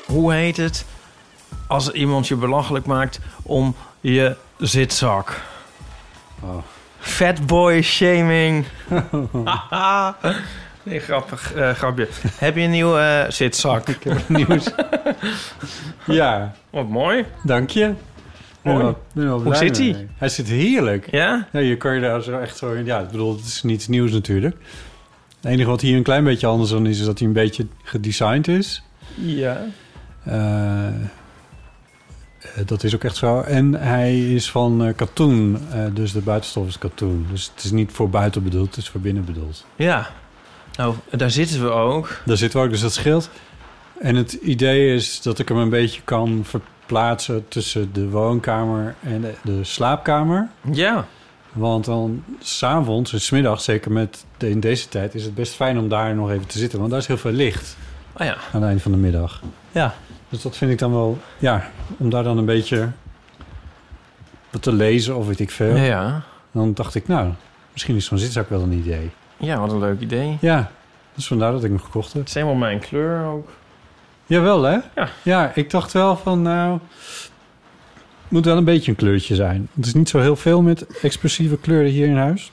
Hoe heet het als iemand je belachelijk maakt om je zitzak? Oh. Fatboy shaming. Ah. nee, grappig eh, grapje. Heb je een nieuwe eh, zitzak? Nieuws. ja, Wat mooi. dank je. Mooi. Hoe zit hij? hij? Hij zit heerlijk. Ja? Ja, je kan je daar zo echt zo... in- Ja, ik bedoel, het is niets nieuws natuurlijk. Het enige wat hier een klein beetje anders dan is, is dat hij een beetje gedesigned is. Ja. Eh, eh, dat is ook echt zo. En hij is van eh, katoen, eh, dus de buitenstof is katoen. Dus het is niet voor buiten bedoeld, het is voor binnen bedoeld. Ja. Nou, daar zitten we ook. Daar zitten we ook, dus dat scheelt. En het idee is dat ik hem een beetje kan verplaatsen tussen de woonkamer en de, de slaapkamer. Ja. Want dan s'avonds en 's middags, zeker met de- in deze tijd, is het best fijn om daar nog even te zitten. Want daar is heel veel licht Oh ja. aan het eind van de middag. Ja. Dus dat vind ik dan wel, ja, om daar dan een beetje wat te lezen of weet ik veel. Ja, ja. Dan dacht ik, nou, misschien is zo'n zitzak wel een idee. Ja, wat een leuk idee. Ja, dus vandaar dat ik hem gekocht heb. Het is helemaal mijn kleur ook. Jawel, hè? Ja. ja, ik dacht wel van, nou, het moet wel een beetje een kleurtje zijn. Het is niet zo heel veel met expressieve kleuren hier in huis.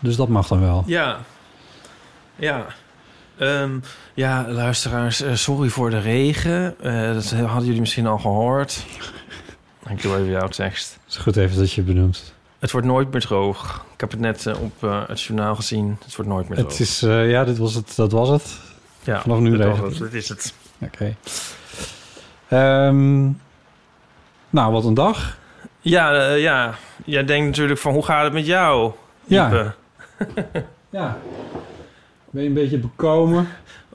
Dus dat mag dan wel. Ja. Ja. Ehm, ja, luisteraars, eh, sorry voor de regen. Eh, dat hadden jullie misschien al gehoord. Ik doe even jouw tekst. Het is goed even dat je het benoemt. Het wordt nooit meer droog. Ik heb het net eh, op eh, het journaal gezien. Het wordt nooit meer droog. Het is, eh, ja, dit was het, dat was het. ja, vanaf nu dat was regent het. het. Dit is het. Oké. Ehm, nou, wat een dag. Ja, eh, ja, jij denkt natuurlijk van hoe gaat het met jou? Ja. Ipe? Ja. Ben je een beetje bekomen?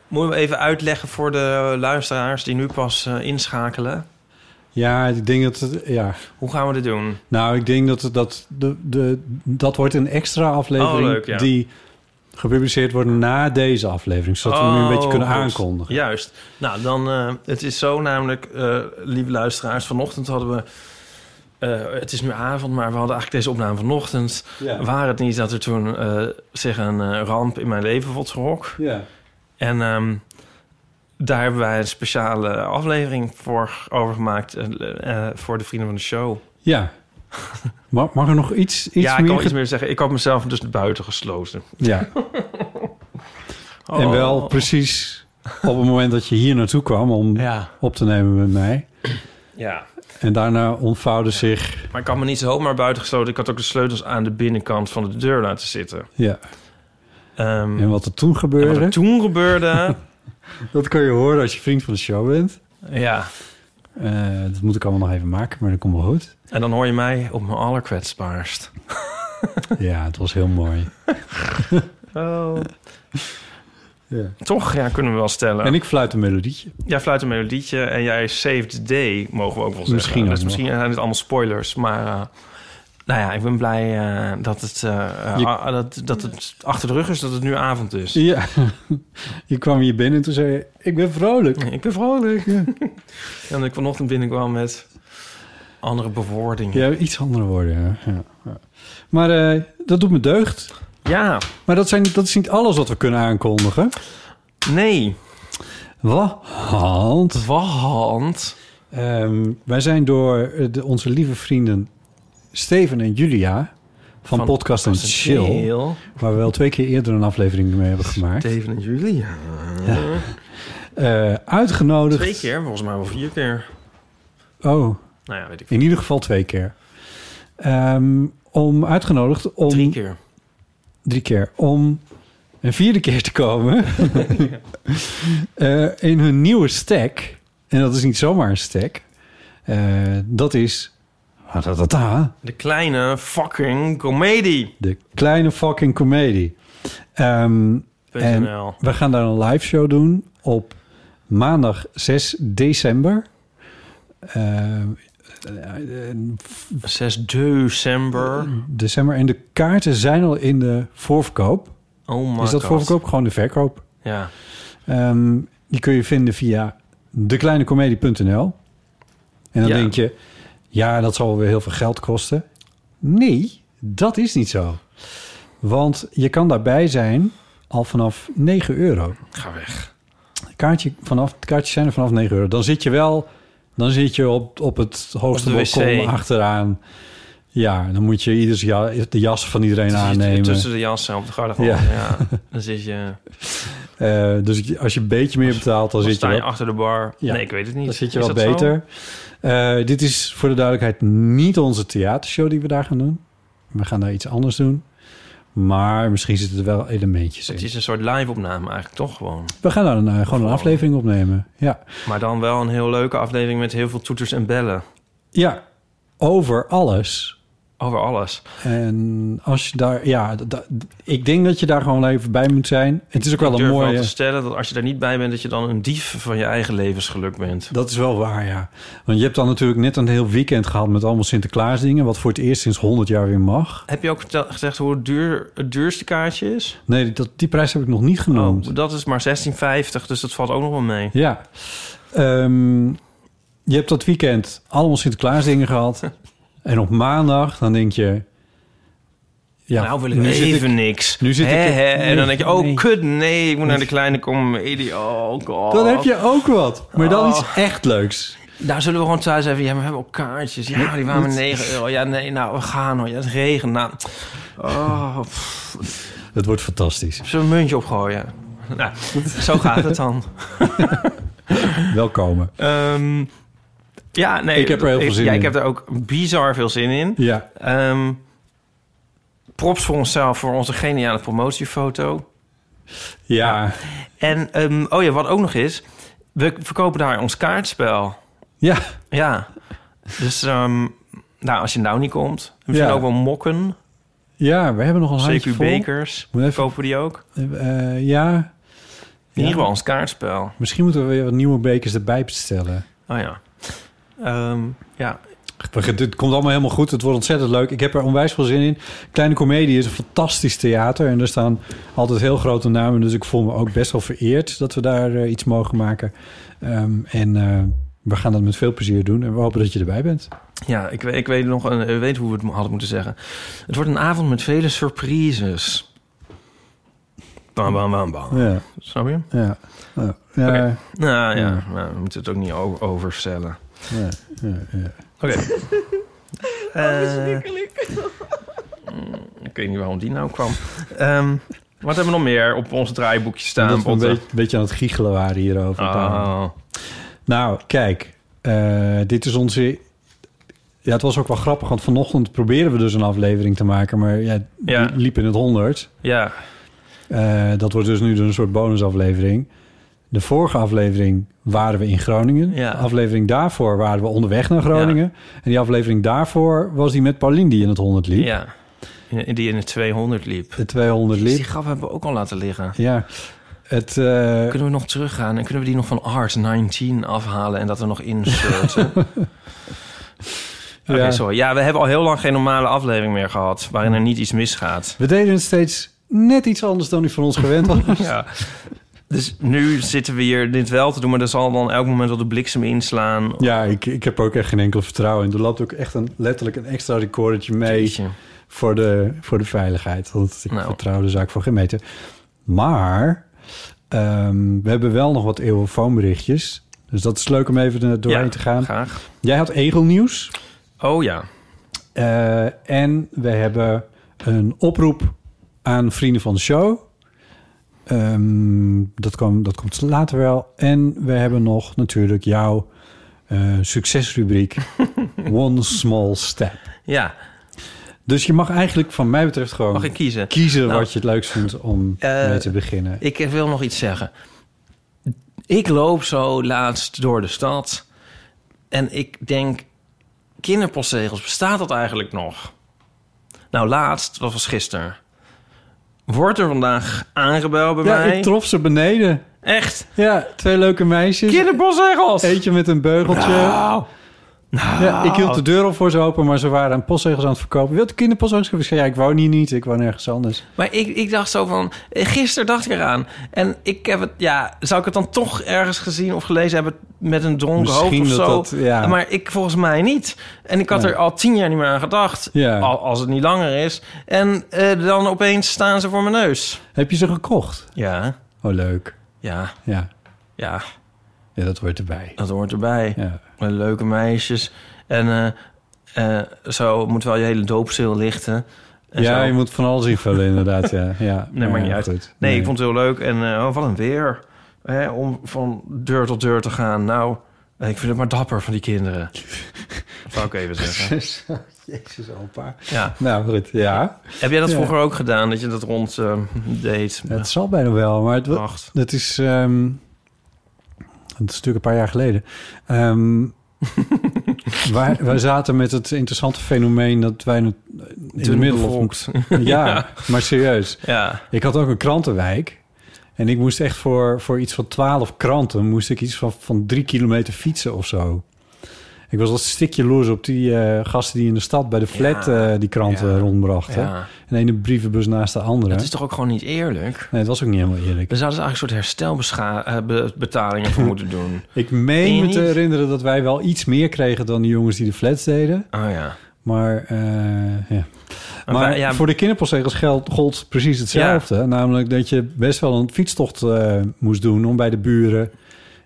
Moeten we even uitleggen voor de luisteraars die nu pas eh, inschakelen? Ja, ik denk dat het, ja. Hoe gaan we dit doen? Nou, ik denk dat het- dat de, de dat wordt een extra aflevering Oh, leuk, ja. die gepubliceerd wordt na deze aflevering, zodat we hem een beetje Oh, kunnen goed. aankondigen. Juist. Nou, dan, eh, het is zo namelijk, eh, lieve luisteraars, vanochtend hadden we... eh, het is nu avond, maar we hadden eigenlijk deze opname vanochtend. Ja. Waar het niet dat er toen eh, zich een eh, ramp in mijn leven wordt gerokt. Ja. En ehm, daar hebben wij een speciale aflevering voor over gemaakt eh, eh, voor de vrienden van de show. Ja. Mag, mag er nog iets, iets ja, ik meer? kan wel ge- iets meer zeggen. Ik had mezelf dus buiten gesloten. Ja. En Oh. wel precies op het moment dat je hier naartoe kwam om Ja. op te nemen met mij. Ja. En daarna ontvouwde zich. Maar ik had me niet zomaar buiten gesloten. Ik had ook de sleutels aan de binnenkant van de deur laten zitten. Ja. Ehm, En wat er toen en gebeurde. wat er toen gebeurde... Dat kan je horen als je vriend van de show bent. ja. Eh, dat moet ik allemaal nog even maken, maar dat komt wel goed. En dan hoor je mij op mijn allerkwetsbaarst. Ja, het was heel mooi. Oh. Ja. Toch? Ja, kunnen we wel stellen. En ik fluit een melodietje. Jij fluit een melodietje en jij saved the day, mogen we ook wel zeggen. Misschien ook dus nog. misschien zijn het allemaal spoilers, maar... eh, Nou ja, ik ben blij eh, dat, het, eh, eh, Je- ah, dat, dat het achter de rug is, dat het nu avond is. Ja, je kwam hier binnen en toen zei je, ik ben vrolijk. Ik ben vrolijk. En ik vanochtend binnenkwam met andere bewoordingen. Ja, iets andere woorden, ja. ja, ja. Maar eh, dat doet me deugd. Ja, Maar dat, zijn, dat is niet alles wat we kunnen aankondigen. nee. Want Want ehm, wij zijn door eh, de, onze lieve vrienden Steven en Julia van, Podcast en Podcast Chill... waar we wel twee keer eerder een aflevering mee hebben gemaakt... Steven en Julia. Mm. eh, uitgenodigd... Twee keer, volgens mij wel vier keer. Oh, Nou ja, weet ik veel. in ieder geval twee keer. Ehm, om uitgenodigd om... Drie keer. drie keer om een vierde keer te komen Eh, in hun nieuwe stack. En dat is niet zomaar een stack. Eh, dat is ta-ta-ta-ta, De kleine fucking comedie. de kleine fucking comedie. Ehm, PNL. we gaan daar een live show doen op maandag 6 december. Eh, 6 december. eh, december. En de kaarten zijn al in de voorverkoop. Oh my is God. dat voorverkoop gewoon de verkoop? Ja. Ehm, die kun je vinden via dekleinecomedie.nl. En dan Ja. denk je, ja, dat zal weer heel veel geld kosten. Nee, dat is niet zo. Want je kan daarbij zijn al vanaf 9 euro. Ga weg. Kaartje vanaf, kaartjes zijn er vanaf 9 euro. Dan zit je wel, dan zit je op, op het hoogste Op de wc. balkon achteraan. Ja, dan moet je ieders ja, de jas van iedereen aannemen. Tussen de jassen op de garderobe. Ja. Ja. Dan zit je, Eh, dus als je een beetje meer betaalt, dan, dan zit je sta je wel achter de bar. Ja. Nee, ik weet het niet. Dan zit je Is wel dat zo? beter. Eh, dit is voor de duidelijkheid niet onze theatershow die we daar gaan doen. We gaan daar iets anders doen. Maar misschien zitten er wel elementjes Het in. is een soort live-opname eigenlijk, toch gewoon. We gaan daar een, eh, gewoon een aflevering opnemen. Ja. Maar dan wel een heel leuke aflevering met heel veel toeters en bellen. ja, over alles. Over alles. En als je daar... Ja, da- ik denk dat je daar gewoon even bij moet zijn. Het is ook wel ik een durf wel mooie... te stellen dat als je daar niet bij bent... dat je dan een dief van je eigen levensgeluk bent. Dat is wel waar, ja. Want je hebt dan natuurlijk net een heel weekend gehad... met allemaal Sinterklaasdingen... wat voor het eerst sinds 100 jaar weer mag. Heb je ook vertel- gezegd hoe duur het duurste kaartje is? Nee, dat, die prijs heb ik nog niet genoemd. Oh, dat is maar 16,50, dus dat valt ook nog wel mee. Ja. Ehm, je hebt dat weekend allemaal Sinterklaasdingen gehad. en op maandag dan denk je... Ja, nou wil ik nu zit even niks. nu zit ik- Hè, hè, En dan denk je, oh Nee. kut, nee, ik moet naar de kleine comedie. Oh god. Dan heb je ook wat. Maar dan Oh. iets echt leuks. Daar zullen we gewoon thuis even... Ja, maar we hebben ook kaartjes. Ja, die waren maar 9 euro. Ja, nee, nou, we gaan hoor. Ja, het regent. Nou, oh, pff, Dat wordt fantastisch. zullen we een muntje opgooien? Nou, zo gaat het dan. Welkomen. Ehm, ja, nee. Ik heb er heel veel zin ja, in. ik heb er ook bizar veel zin in. Ja, Ehm, props voor onszelf, voor onze geniale promotiefoto. ja, En, ehm, oh ja, wat ook nog is... We verkopen daar ons kaartspel. ja. Ja. Dus, ehm, nou, als je nou niet komt... Misschien Ja. ook wel mokken. Ja, we hebben nog een handje vol. CQ-bekers. Moet even- Kopen die ook? Eh, ja, In ieder Ja. geval ons kaartspel. misschien moeten we weer wat nieuwe bekers erbij bestellen. Oh ja. Ehm, ja. We gaan- Dit komt allemaal helemaal goed. Het wordt ontzettend leuk. Ik heb er onwijs veel zin in. Kleine Comedie is een fantastisch theater. En er staan altijd heel grote namen. Dus ik voel me ook best wel vereerd dat we daar eh, iets mogen maken. Ehm, en eh, we gaan dat met veel plezier doen. En we hopen dat je erbij bent. Ja, ik, we- ik weet nog een, ik weet hoe we het hadden moeten zeggen. Het wordt een avond met vele surprises. Bam, bam, bam, bam. Ja, Snap je? ja. ja, ja, Oké. Nou ja, Ja. nou, we moeten het ook niet o- overstellen. ja, ja, ja. Oké. Oh, Eh, mm, ik weet niet waarom die nou kwam. Ehm, wat hebben we nog meer op ons draaiboekje Omdat staan? we een Botte? beetje, beetje aan het giechelen waren hierover. Oh. Nou, kijk, eh, dit is onze. Ja, het was ook wel grappig, want vanochtend probeerden we dus een aflevering te maken, maar ja, die Ja. liep in het honderd. Ja, Eh, dat wordt dus nu een soort bonusaflevering. De vorige aflevering waren we in Groningen. Ja. De aflevering daarvoor waren we onderweg naar Groningen. En die aflevering daarvoor was die met Paulien die in het 100 liep. ja. In- Die in de 200 liep. De 200 Die liep. grap hebben we ook al laten liggen. Ja. Het, eh, Kunnen we nog teruggaan en kunnen we die nog van Art 19 afhalen en dat er nog inserten? Oké, Ja. sorry. Ja, we hebben al heel lang geen normale aflevering meer gehad... waarin er niet iets misgaat. We deden het steeds net iets anders dan u van ons gewend was. Ja. Dus nu zitten we hier dit wel te doen... maar er zal dan elk moment wel de bliksem inslaan. ja, ik, ik heb ook echt geen enkel vertrouwen in. Er loopt ook echt een, letterlijk een extra recordertje mee Jeetje. voor de, voor de veiligheid. Want ik Nou. vertrouw de zaak voor geen meter. Maar ehm, we hebben wel nog wat eeuwenfoonberichtjes. Dus dat is leuk om even er doorheen Ja, te gaan. graag. Jij had egelnieuws. Oh ja. Eh, en we hebben een oproep aan vrienden van de show. Ehm, dat, kwam, dat komt later wel. En we hebben nog natuurlijk jouw eh, succesrubriek One Small Step. Ja, Dus je mag eigenlijk van mij betreft gewoon mag ik kiezen? kiezen Nou. wat je het leukst vindt om Eh, mee te beginnen. Ik wil nog iets zeggen. Ik loop zo laatst door de stad. En ik denk, kinderpostzegels, bestaat dat eigenlijk nog? Nou, laatst, dat was gisteren. Wordt er vandaag aangebeld bij Ja, mij? ik trof ze beneden. Echt? Ja, twee leuke meisjes. Kinderpostzegels! Eentje met een beugeltje. Nou. Ja, ik hield de deur al voor ze open, maar ze waren aan postzegels aan het verkopen. Wilt u kinderpostzegels? Ik zei, ja, ik woon hier niet. Ik woon ergens anders. Maar ik, ik dacht zo van, eh, gisteren dacht ik eraan. En ik heb het, ja, zou ik het dan toch ergens gezien of gelezen hebben met een dronken hoofd Misschien of zo? dat dat- ja. Maar ik volgens mij niet. En ik had Nee. er al tien jaar niet meer aan gedacht, Ja. al, als het niet langer is. En eh, dan opeens staan ze voor mijn neus. Heb je ze gekocht? Ja, Oh, leuk. ja, Ja, ja, ja dat hoort erbij. dat hoort erbij. Ja. Met leuke meisjes. En eh, eh, zo moet wel je hele doopzeel lichten. En Ja, zo. je moet van alles invullen inderdaad, ja. ja. Nee, maakt niet uit. Goed. Nee, ik vond het heel leuk. En eh, oh, wat een weer. Hè, om van deur tot deur te gaan. Nou, eh, ik vind het maar dapper van die kinderen. Dat zou ik even zeggen. Jezus, opa. Ja. Nou, goed, ja. Heb jij dat Ja. vroeger ook gedaan? Dat je dat rond eh, deed? Het zal bijna wel, maar het, Wacht. Dat is, ehm, dat is natuurlijk een paar jaar geleden. Ehm, wij, wij zaten met het interessante fenomeen dat wij eh, in het Dun middel bevolkt. Ja, maar serieus. Ja. Ik had ook een krantenwijk. En ik moest echt voor, voor iets van twaalf kranten... moest ik iets van, van drie kilometer fietsen of zo. Ik was al stikje loers op die eh, gasten die in de stad... bij de flat Ja. eh, die kranten Ja. rondbrachten. ja. En de ene brievenbus naast de andere. Dat is toch ook gewoon niet eerlijk? Nee, het was ook niet helemaal eerlijk. We zouden dus eigenlijk een soort herstelbetalingen voor moeten doen. Ik Meen je meen me te niet? herinneren dat wij wel iets meer kregen dan de jongens die de flats deden. Oh ja. Maar, eh, ja. Maar maar wij- ja. voor de kinderpostzegels geldt gold precies hetzelfde. Namelijk dat je best wel een fietstocht eh, moest doen om bij de buren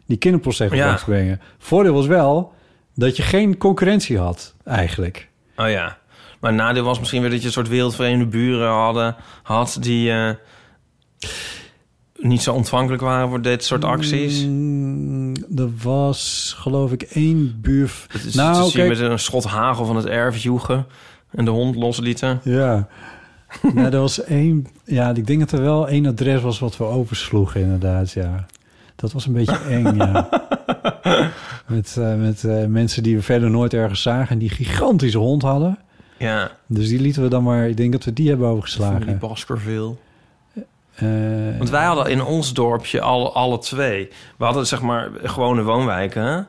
die kinderpostzegels Ja. af te brengen. Voordeel was wel dat je geen concurrentie had, eigenlijk. Oh ja. Maar het nadeel was misschien weer dat je een soort wereldvreemde buren hadden, had die eh, niet zo ontvankelijk waren voor dit soort acties. Mm, er was geloof ik één buur... Het is Nou, te zien kijk. met een schot hagel van het erf joegen en de hond loslieten. Ja. nou, er was één... Ja, ik denk dat er wel één adres was wat we oversloegen, inderdaad, ja. Dat was een beetje eng, ja. Met, eh, met eh, mensen die we verder nooit ergens zagen... en die gigantische hond hadden. Ja, Dus die lieten we dan maar... Ik denk dat we die hebben die overgeslagen. Baskerville. Eh, Want wij hadden in ons dorpje al, alle twee. We hadden zeg maar gewone woonwijken. hè?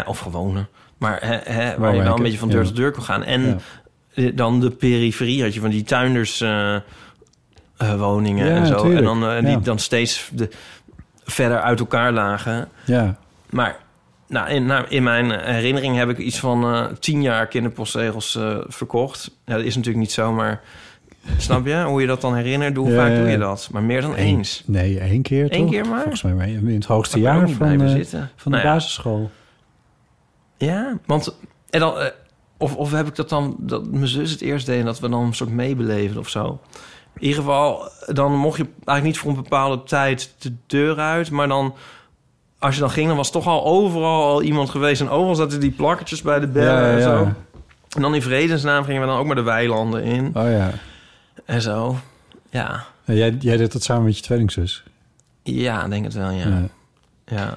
Eh, of gewone. Maar hè, hè, waar je wel Woonwijken, een beetje van deur ja. tot deur kon gaan. En Ja. eh, dan de periferie had je van die tuinders eh, eh, woningen Ja, en zo. natuurlijk, En dan, eh, die ja. dan steeds de, verder uit elkaar lagen. ja. Maar nou, in, nou, in mijn herinnering heb ik iets van eh, tien jaar kinderpostzegels eh, verkocht. Ja, dat is natuurlijk niet zo, maar snap je hoe je dat dan herinnert? Hoe Ja, vaak ja, doe je ja. dat? Maar meer dan eens. Nee, één keer toch? Eén keer maar? Volgens mij maar in het hoogste Daar kan ik ook jaar niet van, blijven eh, zitten. van de Nou ja. basisschool. Ja, want en dan, eh, of, of heb ik dat dan dat mijn zus het eerst deed en dat we dan een soort meebeleven of zo. In ieder geval, dan mocht je eigenlijk niet voor een bepaalde tijd de deur uit, maar dan als je dan ging, dan was toch al overal al iemand geweest en overal zaten die plakketjes bij de bellen Ja, en ja. zo. En dan in vredesnaam gingen we dan ook maar de weilanden in Oh ja. en zo. Ja, Nou, Jij, jij deed dat samen met je tweelingzus. ja, ik denk het wel, ja. Ja. ja.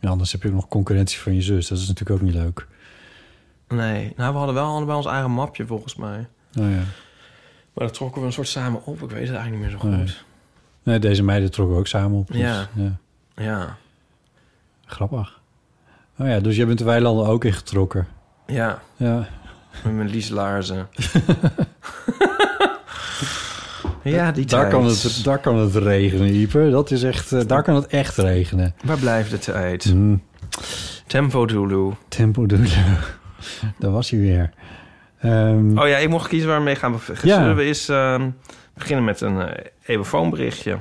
Ja, anders heb je ook nog concurrentie van je zus. Dat is natuurlijk ook niet leuk. Nee, nou, we hadden wel allebei ons eigen mapje volgens mij. Nou ja. Maar dat trokken we een soort samen op. Ik weet het eigenlijk niet meer zo goed. Nee. Nee, deze meiden trokken ook samen op. dus, Ja. ja. Ja. Grappig. Oh ja, dus jij bent de weilanden ook ingetrokken. Ja, Ja. met mijn Lies Laarzen. ja, die Daar, tijd. kan het, daar kan het regenen, Ieper. Dat is echt, eh, daar kan het echt regenen. Waar blijft de tijd? Hm, Tempo Dulu. tempo doen. daar was hij weer. Ehm, Oh ja, ik mocht kiezen waar we mee gaan beginnen. Ja. Zullen we eens ehm, beginnen met een eh evofoonberichtje?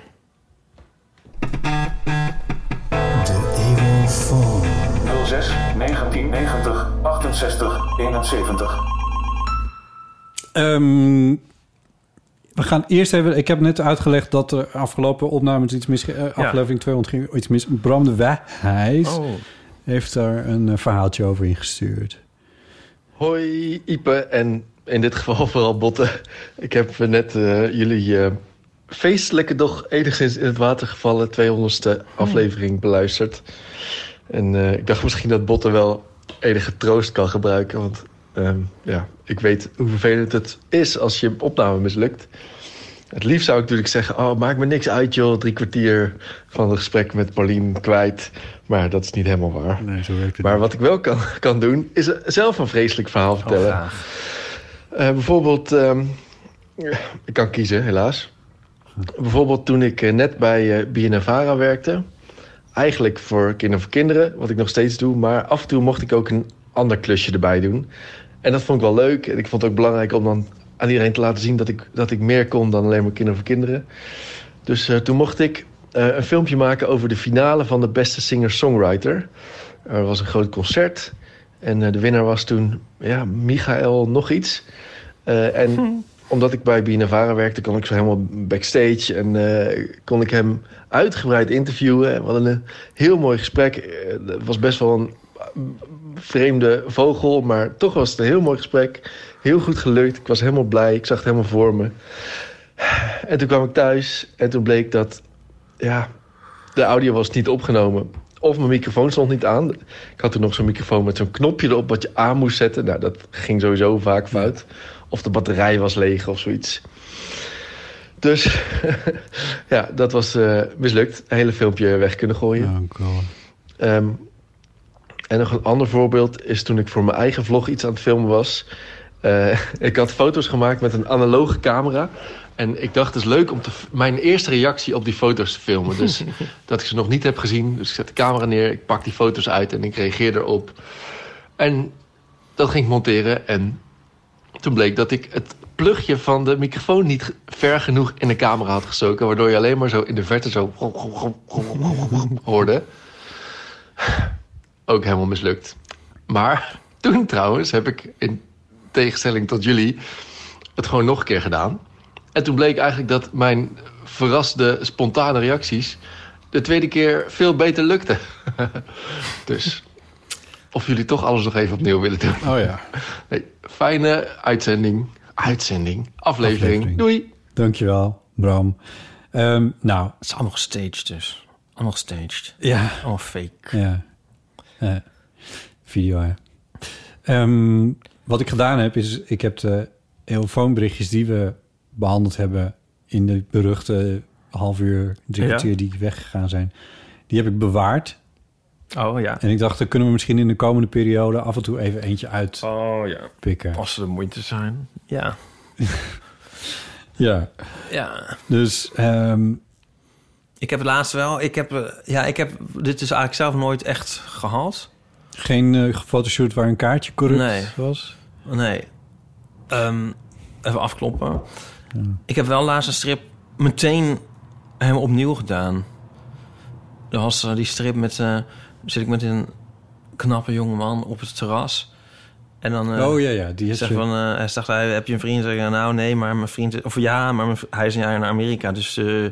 Ehm, we gaan eerst even... Ik heb net uitgelegd dat er afgelopen opnames iets mis... eh, aflevering 200 ging iets mis. Bram de Wijs Oh. heeft daar een eh, verhaaltje over ingestuurd. Hoi Ipe en in dit geval vooral Botten. Ik heb net eh, jullie eh, feestelijke, doch enigszins in het water gevallen 200ste Hmm. aflevering beluisterd. En eh, ik dacht misschien dat Botten wel enige troost kan gebruiken. Want ehm, ja, ik weet hoe vervelend het is als je opname mislukt. Het liefst zou ik natuurlijk zeggen, oh maakt me niks uit joh, drie kwartier van het gesprek met Paulien kwijt. Maar dat is niet helemaal waar. Nee, zo werkt Maar wat ik wel kan, kan doen, is zelf een vreselijk verhaal Oh, vertellen. graag. Eh, bijvoorbeeld, ehm, ik kan kiezen, helaas. Hm. Bijvoorbeeld toen ik eh, net bij eh BNNVARA werkte. Eigenlijk voor Kinderen voor Kinderen, wat ik nog steeds doe. Maar af en toe mocht ik ook een ander klusje erbij doen. En dat vond ik wel leuk. En ik vond het ook belangrijk om dan aan iedereen te laten zien... dat ik, dat ik meer kon dan alleen maar Kinderen voor Kinderen. Dus eh, toen mocht ik eh, een filmpje maken over de finale van de beste singer-songwriter. Er was een groot concert. En eh, de winnaar was toen ja, Michael nog iets. Eh, en omdat ik bij Bienavara werkte, kon ik zo helemaal backstage. En eh, kon ik hem uitgebreid interviewen. En We hadden een heel mooi gesprek. Eh, Het was best wel een eh, vreemde vogel, maar toch was het een heel mooi gesprek. Heel goed gelukt. Ik was helemaal blij. Ik zag het helemaal voor me. En toen kwam ik thuis en toen bleek dat ja, de audio was niet opgenomen. Of mijn microfoon stond niet aan. Ik had toen nog zo'n microfoon met zo'n knopje erop wat je aan moest zetten. Nou, dat ging sowieso vaak fout. Of de batterij was leeg of zoiets. Dus ja, dat was eh, mislukt. Het hele filmpje weg kunnen gooien. Oh god. Ehm, en nog een ander voorbeeld is toen ik voor mijn eigen vlog iets aan het filmen was. Eh, ik had foto's gemaakt met een analoge camera. En ik dacht, het is leuk om te f- mijn eerste reactie op die foto's te filmen. Dus dat ik ze nog niet heb gezien. Dus ik zet de camera neer, ik pak die foto's uit en ik reageer erop. En dat ging ik monteren. En toen bleek dat ik het plugje van de microfoon niet ge- ver genoeg in de camera had gestoken. Waardoor je alleen maar zo in de verte zo hoorde ook helemaal mislukt. Maar toen trouwens heb ik in tegenstelling tot jullie het gewoon nog een keer gedaan. En toen bleek eigenlijk dat mijn verraste spontane reacties de tweede keer veel beter lukten. dus of jullie toch alles nog even opnieuw willen doen. Oh ja. Nee, fijne uitzending, uitzending, aflevering. Aflevering. Doei. Dankjewel, Bram. Ehm, nou, Het is allemaal gestaged dus. Allemaal gestaged. ja. Allemaal fake. Ja. Ja. video, ja. Ehm, wat ik gedaan heb, is... Ik heb de eeuwfoonberichtjes die we behandeld hebben... in de beruchte half uur, drie Ja. kwartier die weggegaan zijn... die heb ik bewaard. Oh ja. En ik dacht, daar kunnen we misschien in de komende periode... af en toe even eentje Oh ja. uitpikken. Als ze de moeite zijn. Ja. Ja, Ja. dus... ehm, Ik heb laatst wel... Ik heb, eh, ja, ik heb... Dit is eigenlijk zelf nooit echt gehad. geen eh gefotoshoot waar een kaartje corrupt Nee. was? Nee. Ehm, even afkloppen. Ik heb wel laatst een strip meteen helemaal opnieuw gedaan. Er was eh, die strip met... eh, zit ik met een knappe jongeman op het terras. En dan... eh, oh ja, ja, die Je is zegt van, eh, hij zegt, hij, heb je een vriend? Zeg ik, nou nee, maar mijn vriend... is- Of ja, maar mijn v- hij is een jaar naar Amerika. Dus eh,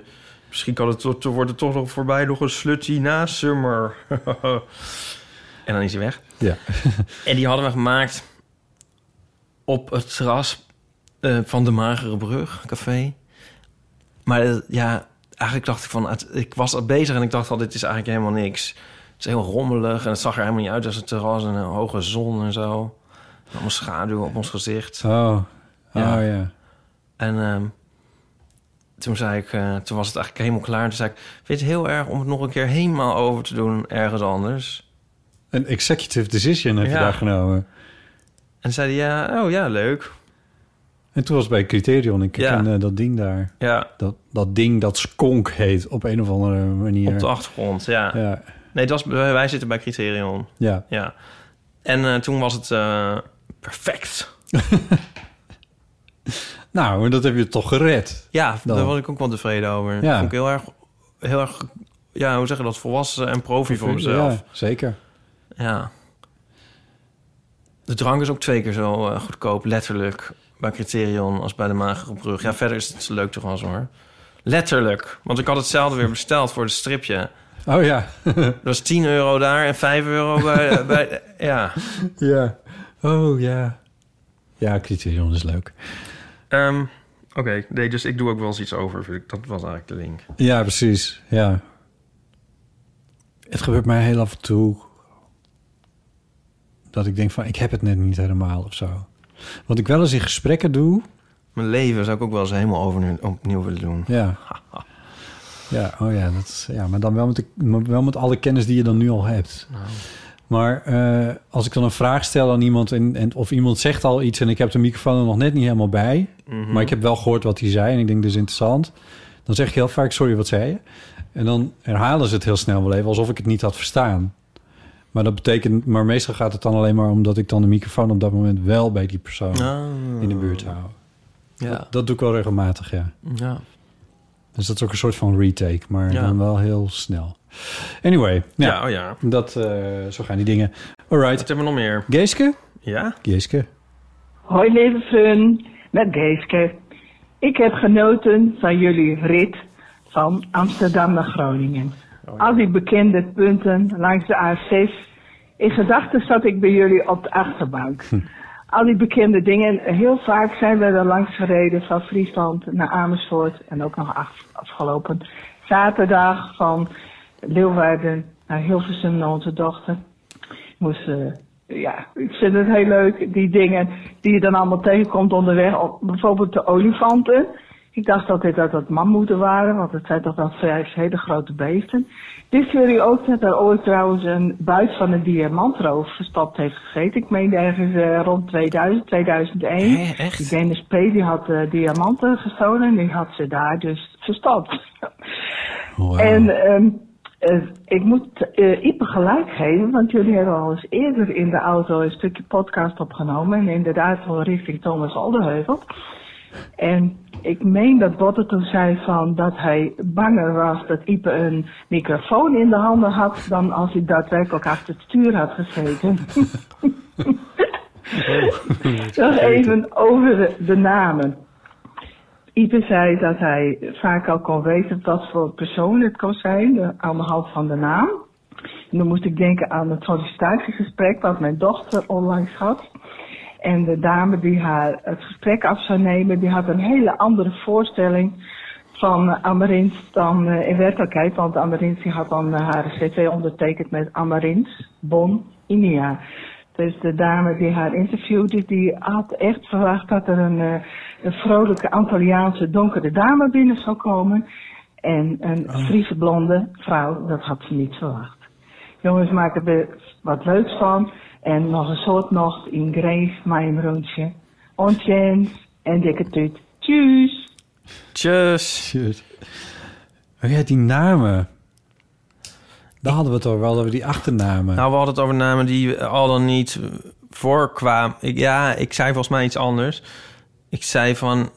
misschien kan het tot, wordt het toch nog voorbij nog een slutty na summer. en dan is hij weg. Ja. en die hadden we gemaakt op het terras eh, van de Magere Brug Café. Maar eh, ja, eigenlijk dacht ik van... het- ik was al bezig en ik dacht al, dit is eigenlijk helemaal niks. Het is heel rommelig en het zag er helemaal niet uit als een terras... en een hoge zon en zo. En allemaal schaduw op ons gezicht. Oh, oh Ja. ja. En ehm, toen zei ik, eh, toen was het eigenlijk helemaal klaar. Toen zei ik, vind je het heel erg om het nog een keer helemaal over te doen ergens anders? Een executive decision heb je Ja. daar genomen. En zeiden ja, oh ja, leuk. En toen was het bij Criterion. Ik Ja. ken eh, dat ding daar. Ja, Dat, dat ding dat Skonk heet op een of andere manier. op de achtergrond, ja. Ja, Nee, dat was, wij wij zitten bij Criterion. ja. Ja. En eh, toen was het eh, perfect. Nou, maar dat heb je toch gered. Ja, Dan. daar was ik ook wel tevreden over. Ja. Vond ik heel erg, heel erg, ja, hoe zeg je dat, volwassen en profi voor mezelf. Ja, zeker. Ja. De drank is ook twee keer zo eh, goedkoop, letterlijk, bij Criterion als bij de Magere Brug. Ja, verder is het leuk toch wel zo, hoor. Letterlijk. Want ik had hetzelfde weer besteld voor het stripje. Oh ja. Dat was 10 euro daar en 5 euro bij... bij ja. ja. Oh ja. Ja, Criterion is leuk. Ehm, Oké, nee, dus ik doe ook wel eens iets over. vind ik. Dat was eigenlijk de link. Ja, precies. Ja. Het gebeurt mij heel af en toe dat ik denk van ik heb het net niet helemaal of zo. Wat ik wel eens in gesprekken doe. Mijn leven zou ik ook wel eens helemaal over, opnieuw willen doen. Ja. Ja, oh ja, dat is, ja, maar dan wel met, de, maar wel met alle kennis die je dan nu al hebt. Maar eh, als ik dan een vraag stel aan iemand en, en of iemand zegt al iets en ik heb de microfoon er nog net niet helemaal bij, maar ik heb wel gehoord wat hij zei en ik denk dit is interessant, dan zeg ik heel vaak sorry wat zei je. En dan herhalen ze het heel snel wel even alsof ik het niet had verstaan. Maar dat betekent, maar meestal gaat het dan alleen maar omdat ik dan de microfoon op dat moment wel bij die persoon in de buurt hou. Ja. Dat doe ik wel regelmatig, ja. ja. Dus dat is ook een soort van retake, maar Ja. dan wel heel snel. Anyway, nou, Ja, oh ja. dat, eh, zo gaan die dingen. Alright, Wat hebben we nog meer? Geeske? Ja? Geeske. Hoi lieve fun, met Geeske. Ik heb genoten van jullie rit van Amsterdam naar Groningen. Al die bekende punten langs de A6. In gedachten zat ik bij jullie op de achterbank. Al die bekende dingen. Heel vaak zijn we er langs gereden van Friesland naar Amersfoort. En ook nog af- afgelopen zaterdag van Leeuwarden naar Hilversum naar onze dochter moest, eh, ja, ik vind het heel leuk, die dingen die je dan allemaal tegenkomt onderweg. Op- Bijvoorbeeld de olifanten. Ik dacht altijd dat dat mammoeten waren, want het zijn toch wel vijf hele grote beesten. Dit jullie ook dat er ooit trouwens een buit van een diamantroof verstopt heeft gegeten. Ik meen ergens eh, rond 2000, 2001. Hé, echt? Die Dennis P. die had eh, diamanten gestolen en die had ze daar dus verstopt. Wow. En ehm, eh, ik moet eh Ipe gelijk geven, want jullie hebben al eens eerder in de auto een stukje podcast opgenomen. En inderdaad wel richting Thomas Alderheuvel. En ik meen dat Botte toen zei van dat hij banger was dat Ipe een microfoon in de handen had dan als hij daadwerkelijk achter het stuur had gezeten. Nog even over de, de namen. Ipe zei dat hij vaak al kon weten wat voor persoon het kon zijn eh, aan de hand van de naam. En dan moest ik denken aan het sollicitatiegesprek wat mijn dochter onlangs had. En de dame die haar het gesprek af zou nemen, die had een hele andere voorstelling van eh, Amarins dan eh, in werkelijkheid. Want Amarins die had dan eh, haar cv ondertekend met Amarins Bon Inia. Dus de dame die haar interviewde, die had echt verwacht dat er een, eh, een vrolijke Antilliaanse donkere dame binnen zou komen. En een Friese blonde vrouw, dat had ze niet verwacht. Jongens maken er wat leuks van. En nog een soort nog in Grace, mijn rondje. Onchens en dikke tuut. Tjus! Tjus. Shit. Oh ja, die namen. Daar hadden we het over, wel over die achternamen. Nou, we hadden het over namen die al dan niet eh, voorkwamen. Ik, ja, ik zei volgens mij iets anders. Ik zei van...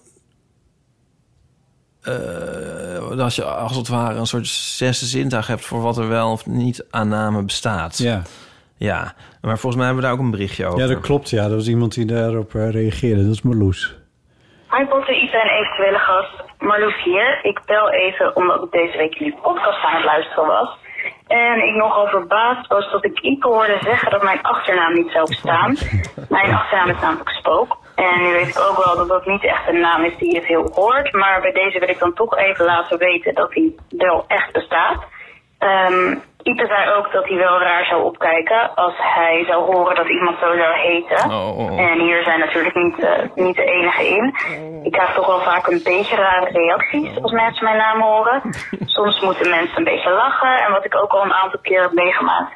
eh, als je als het ware een soort zesde zintuig hebt... voor wat er wel of niet aan namen bestaat. ja. Ja. Maar volgens mij hebben we daar ook een berichtje over. ja, dat klopt. Ja, dat was iemand die daarop eh, reageerde. Dat is Marloes. Hi Botte, Ita en eventuele gast. Marloes hier. Ik bel even omdat ik deze week jullie podcast aan het luisteren was. En ik nogal verbaasd was dat ik Ipe hoorde zeggen dat mijn achternaam niet zou bestaan. Mijn achternaam is namelijk Spook. En nu weet ik ook wel dat dat niet echt een naam is die je veel hoort. Maar bij deze wil ik dan toch even laten weten dat hij wel echt bestaat. Ehm Ipe zei ook dat hij wel raar zou opkijken als hij zou horen dat iemand zo zou heten. Oh, oh, oh. En hier zijn natuurlijk niet, eh, niet de enige in. Ik krijg toch wel vaak een beetje rare reacties als mensen mijn naam horen. Soms moeten mensen een beetje lachen. En wat ik ook al een aantal keer heb meegemaakt,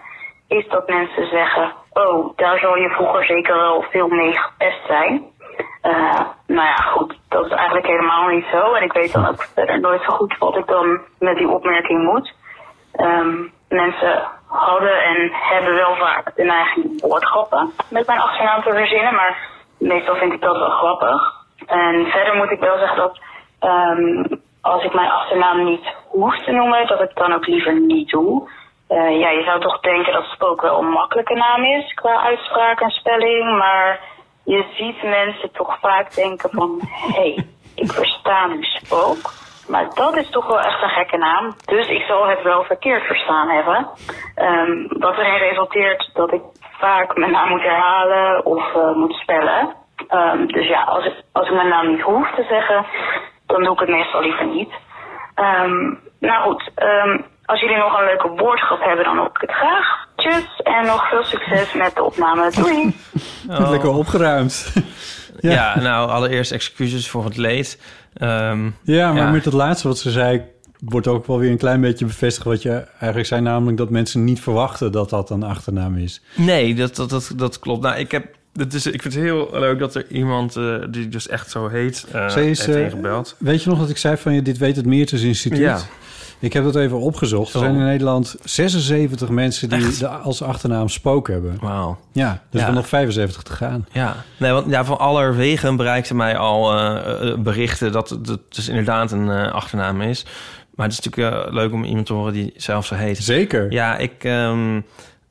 is dat mensen zeggen: oh, daar zal je vroeger zeker wel veel mee gepest zijn. Eh, nou ja, goed, dat is eigenlijk helemaal niet zo. En ik weet dan ook verder nooit zo goed wat ik dan met die opmerking moet. Ehm, mensen hadden en hebben wel vaak een eigen woord grappen met mijn achternaam te verzinnen, maar meestal vind ik dat wel grappig. En verder moet ik wel zeggen dat ehm, als ik mijn achternaam niet hoef te noemen, dat ik het dan ook liever niet doe. Eh, ja, je zou toch denken dat Spook wel een makkelijke naam is qua uitspraak en spelling, maar je ziet mensen toch vaak denken van, hé, hey, ik versta nu Spook, maar dat is toch wel echt een gekke naam, dus ik zal het wel verkeerd verstaan hebben. Ehm, wat erin resulteert dat ik vaak mijn naam moet herhalen of eh, moet spellen. Ehm, dus ja, als ik, als ik mijn naam niet hoef te zeggen, dan doe ik het meestal liever niet. Ehm, nou goed, ehm, als jullie nog een leuke woordschap hebben, dan hoor ik het graag. Tjus en nog veel succes met de opname. Doei! Oh. Lekker opgeruimd. Ja. nou, allereerst excuses voor het leed. Ehm, Ja, maar ja. met het laatste wat ze zei... wordt ook wel weer een klein beetje bevestigd wat je eigenlijk zei... namelijk dat mensen niet verwachten dat dat een achternaam is. Nee, dat, dat, dat, dat klopt. Nou, ik heb... Het is, ik vind het heel leuk dat er iemand eh, die dus echt zo heet, eh Ze is, heeft eh, ingebeld. Weet je nog dat ik zei van je, dit weet het Meertens Instituut? Ja. Ik heb dat even opgezocht. Zo. Er zijn in Nederland 76 mensen die de, als achternaam spook hebben. Wauw. Ja, dus Ja. er nog 75 te gaan. Ja, nee, want ja, van allerwegen bereikten mij al eh, eh, berichten dat het dat dus inderdaad een eh, achternaam is. Maar het is natuurlijk eh, leuk om iemand te horen die zelf zo heet. Zeker. Ja, ik, ehm,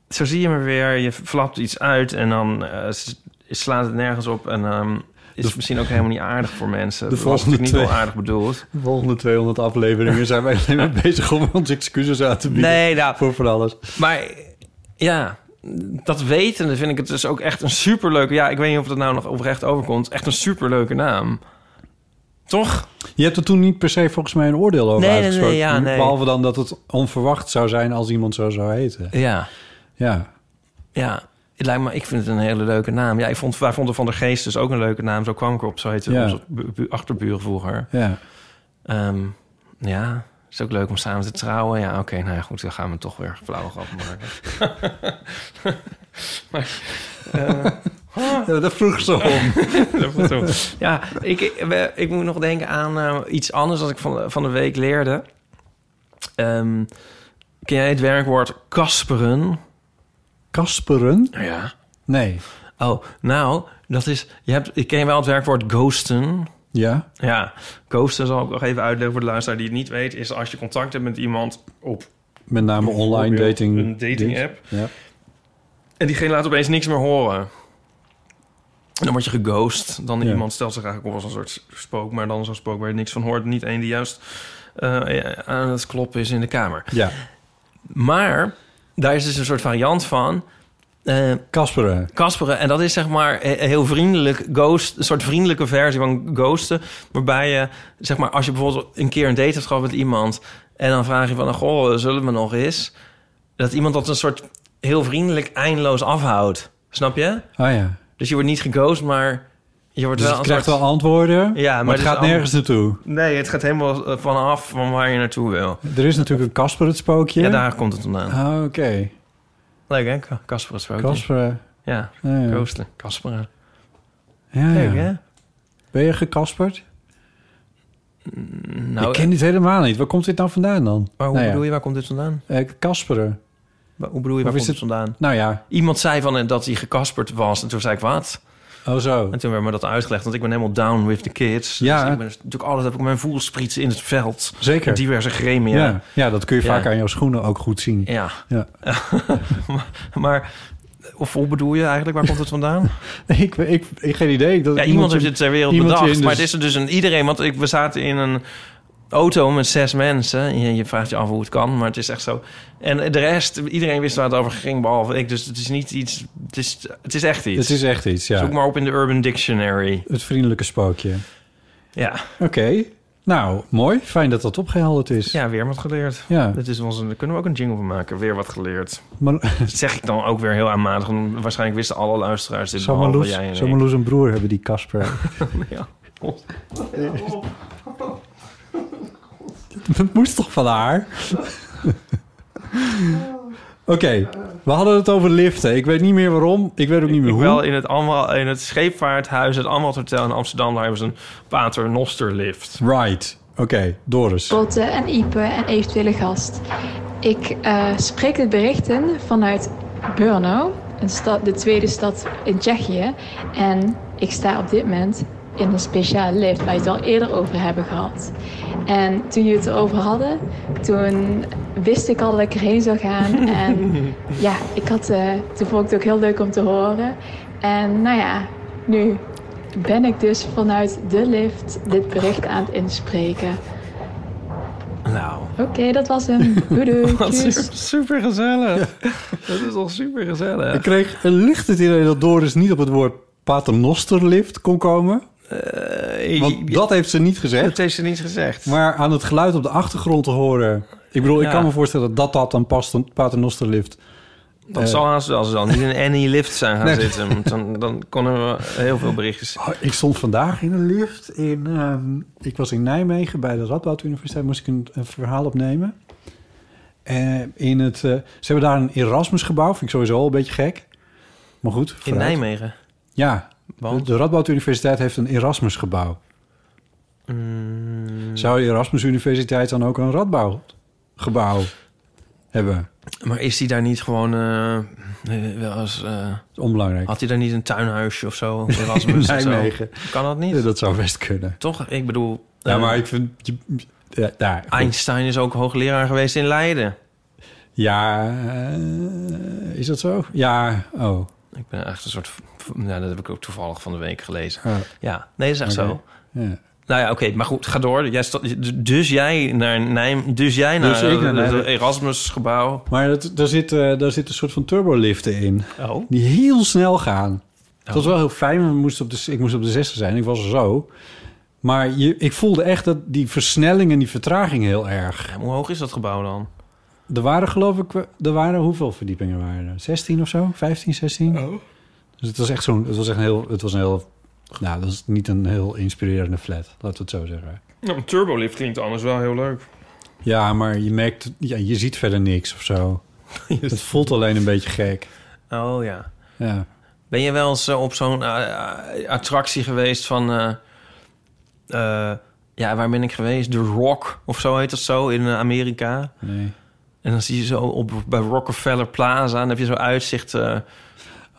zo zie je me weer. Je flapt iets uit en dan eh, s- slaat het nergens op. En ehm, is het misschien ook helemaal niet aardig voor mensen. de Dat was natuurlijk niet volgende wel twee- aardig bedoeld. De volgende 200 afleveringen zijn wij alleen maar bezig om ons excuses aan te bieden. Nee, nou, Voor van alles. Maar ja, dat wetende vind ik het dus ook echt een superleuke... Ja, ik weet niet of dat nou nog oprecht overkomt. Echt een superleuke naam. Toch? Je hebt er toen niet per se volgens mij een oordeel over Nee, nee, uitgesproken. nee, ja, nee. Behalve dan dat het onverwacht zou zijn als iemand zo zou heten. Ja. Ja. Ja, het lijkt me, ik vind het een hele leuke naam. Ja, ik vond, wij vonden Van der Geest dus ook een leuke naam. Zo kwam ik op, zo heette Ja. onze bu- bu- achterburen vroeger. Ja. Ehm, ja, is ook leuk om samen te trouwen. Ja, oké, nou ja, goed, dan gaan we toch weer flauwe grappen maken. maar, eh, Ja, dat vroeg ze om. Dat vroeg ze om. ja, ik, ik, we- ik moet nog denken aan eh, iets anders dat ik van, van de week leerde. Ehm, ken jij het werkwoord kasperen? Kasperen? Ja. Nee. Oh, nou, dat is... Je hebt, ik ken wel het werkwoord ghosten. Ja. Ja, ghosten zal ik nog even uitleggen voor de luisteraar die het niet weet... is als je contact hebt met iemand op Met name online Bijvoorbeeld dating. een dating app. Ja. en diegene laat opeens niks meer horen... En dan word je geghost. Dan Ja. iemand stelt zich eigenlijk op als een soort spook... maar dan zo'n spook waar je niks van hoort. Niet één die juist eh, aan het kloppen is in de kamer. Ja. Maar daar is dus een soort variant van... eh, Kasperen. Kasperen. En dat is zeg maar he- heel vriendelijk, ghost, een soort vriendelijke versie van ghosten. Waarbij je, zeg maar, als je bijvoorbeeld een keer een date hebt gehad met iemand... en dan vraag je van, nou, goh, zullen we nog eens? Dat iemand dat een soort heel vriendelijk eindeloos afhoudt. Snap je? Oh ja. Dus je wordt niet geghost, maar je wordt Dus wel je een krijgt soort... wel antwoorden, Ja, maar maar, het het is gaat nergens naartoe. Nee, het gaat helemaal eh, vanaf van waar je naartoe wil. Er is natuurlijk een Kasper het spookje. Ja, daar komt het vandaan. Ah, oké. Leuk, hè? Ka- Kasper is ook. Kasper. Ah, Ja, Ja, ja. ghosten. Kasperen. Ja, Leuk, ja. hè? Ben je gekasperd? Nou, ik ken dit helemaal niet. Waar komt dit nou vandaan dan? maar hoe nou bedoel je, waar komt dit vandaan? je? kasperen. Wa- Hoe bedoel je, waar Of komt is het vandaan? Nou ja. Iemand zei van eh, dat hij gekasperd was. En toen zei ik, wat? Oh zo. En toen werd me dat uitgelegd, want ik ben helemaal down with the kids. Ja. Dus ik ben dus- natuurlijk altijd heb ik mijn voelsprietsen in het veld. Zeker. In diverse gremia. Ja. ja, dat kun je Ja. vaak aan jouw schoenen ook goed zien. Ja. Ja. maar, maar, of hoe bedoel je eigenlijk, waar komt het vandaan? ik, ik, ik geen idee. Dat Ja, iemand heeft dit ter wereld iemand die bedacht. in de- Maar het is er dus een iedereen. Want ik, we zaten in een auto met zes mensen. En Je, je vraagt je af hoe het kan, maar het is echt zo. En de rest, iedereen wist waar het over ging, behalve ik. Dus het is niet iets... Het is, het is echt iets. Het is echt iets, ja. Zoek maar op in de Urban Dictionary. Het vriendelijke spookje. Ja, Oké. Nou, mooi. Fijn dat dat opgehelderd is. ja weer wat geleerd. Ja. Dat is onze, daar kunnen we ook een jingle van maken. Weer wat geleerd. Maar, Dat zeg ik dan ook weer heel aanmatig. want Waarschijnlijk wisten alle luisteraars dit, zou behalve Marloes- jij en zou ik. Marloes een broer hebben die Kasper. Ja. Het moest toch van haar? Oké, we hadden het over liften. Ik weet niet meer waarom. Ik weet ook niet meer hoe. Wel in het, Amwal, in het scheepvaarthuis, het Amwald Hotel in Amsterdam, daar hebben ze een paternosterlift. Right. Oké, Doris. Botten en Ipe en eventuele gast. Ik eh, spreek de berichten vanuit Brno, een stad, de tweede stad in Tsjechië. En ik sta op dit moment in een speciale lift waar we het al eerder over hebben gehad. En toen jullie het erover hadden, toen wist ik al dat ik erheen zou gaan. En ja, ik had, eh, toen vond ik het ook heel leuk om te horen. En nou ja, nu ben ik dus vanuit de lift dit bericht aan het inspreken. Nou. Oké, dat was hem. Doei doei. Wat Tjus. super gezellig. Dat is toch super gezellig. Ik kreeg een licht het idee dat Doris niet op het woord paternosterlift kon komen. Eh, Want dat heeft ze niet gezegd. Dat heeft ze niet gezegd. Maar aan het geluid op de achtergrond te horen... Ik bedoel, ik Ja. kan me voorstellen dat dat dan past, een paternosterlift. Dat Eh, zal haast wel, als ze dan niet in any lift zijn gaan Nee. zitten. want Dan, dan konden we heel veel berichtjes. Oh, ik stond vandaag in een lift. In, ehm, ik was in Nijmegen bij de Radboud Universiteit. Moest ik een, een verhaal opnemen. Eh, in het, eh, ze hebben daar een Erasmus-gebouw. Vind ik sowieso al een beetje gek. Maar goed. In vooruit. Nijmegen. Ja. De, de Radboud Universiteit heeft een Erasmus-gebouw. Mm. Hmm, Zou de Erasmus Universiteit dan ook een Radboud-gebouw hebben? Maar is die daar niet gewoon eh, eh, wel eens... eh, Onbelangrijk. had hij daar niet een tuinhuisje of zo? Erasmus of zo? Nijmegen. Kan dat niet? Ja, dat zou best kunnen. Toch? Ik bedoel... Ja, eh, maar ik vind... je- Ja, daar, goed. Einstein is ook hoogleraar geweest in Leiden. Ja, eh, is dat zo? Ja, oh. Ik ben echt een soort... Ja, dat heb ik ook toevallig van de week gelezen. Ja. Ja, nee, dat is echt Oké. zo. Ja. Nou ja, oké, maar goed, ga door. Jij sta- dus jij naar Nijm, dus jij naar, Dus ik naar het Nijmegen. Erasmusgebouw. Maar dat, daar, zit, eh, daar zit een soort van turboliften in. Oh. Die heel snel gaan. Dat was wel heel fijn. want We moesten op de, ik moest op de zesde zijn. Ik was er zo. Maar je, ik voelde echt dat die versnelling en die vertraging heel erg. En Hoe hoog is dat gebouw dan? Er waren geloof ik... wel- Er waren hoeveel verdiepingen waren er? 16 of zo? 15, 16? Oh. Dus het was echt zo'n... Het was echt een heel... Het was een heel... Nou, dat is niet een heel inspirerende flat. Laten we het zo zeggen. Nou, een turbolift klinkt anders wel heel leuk. Ja, maar je merkt, ja, je ziet verder niks of zo. Het voelt alleen een beetje gek. Oh ja. Ja. Ben je wel eens eh, op zo'n eh, attractie geweest van... eh, eh, ja, waar ben ik geweest? De Rock of zo heet dat zo in eh, Amerika. Nee. En dan zie je zo op, bij Rockefeller Plaza... en dan heb je zo'n uitzicht eh,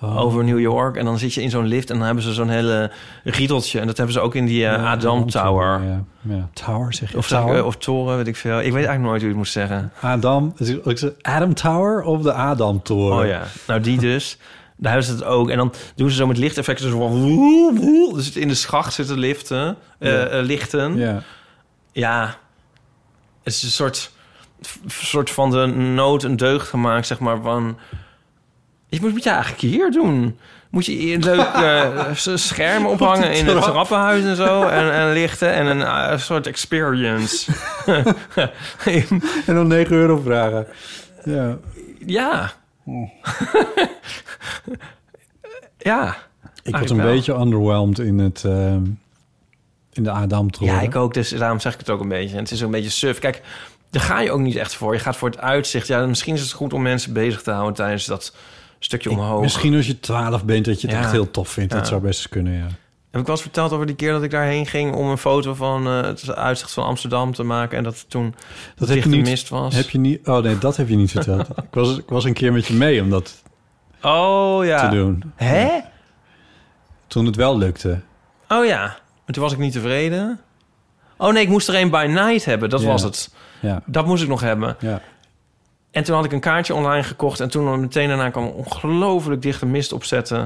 Oh. over New York. En dan zit je in zo'n lift en dan hebben ze zo'n hele riedeltje. En dat hebben ze ook in die eh, Adam Tower. Ja, ja. Tower zeg je. Of, zeg ik, tower. eh, of toren, weet ik veel. Ik weet eigenlijk nooit hoe je het moet zeggen. Adam, het is- ik zeg, Adam Tower of de Adam Toren? Oh ja, nou die dus. Daar hebben ze het ook. En dan doen ze zo met lichteffecten. Zo van woe, woe. Dus in de schacht zitten liften, eh, Ja. eh, lichten. Ja. Ja. Het is een soort, f- soort van de nood een deugd gemaakt, zeg maar. Van, je moet, moet je eigenlijk hier doen. Moet je hier een leuk eh, s- scherm ophangen in het trap. trappenhuis en zo. En, en lichten en een eh, soort experience. En dan 9 euro vragen. Ja. ja. ja. Ik was Eigenlijk een wel. beetje underwhelmed in, het, ehm, in de Adam Toren. Ja, ik ook. Dus daarom zeg ik het ook een beetje. En het is ook een beetje suf. Kijk, daar ga je ook niet echt voor. Je gaat voor het uitzicht. Ja, misschien is het goed om mensen bezig te houden tijdens dat stukje omhoog. Misschien als je 12 bent dat je het Ja. echt heel tof vindt. Ja. Dat zou best eens kunnen, ja. Heb ik wel eens verteld over die keer dat ik daarheen ging om een foto van eh, het uitzicht van Amsterdam te maken. En dat het toen Dat dat heb je niet, mist was. Heb je niet, oh nee, dat heb je niet verteld. ik, was, ik was een keer met je mee om dat Oh ja. te doen. Hè? Toen het wel lukte. Oh ja. Maar toen was ik niet tevreden. Oh nee, ik moest er een by night hebben. Dat Ja. was het. Ja. Dat moest ik nog hebben. Ja. En toen had ik een kaartje online gekocht. En toen meteen daarna kwam ongelooflijk dichte mist opzetten.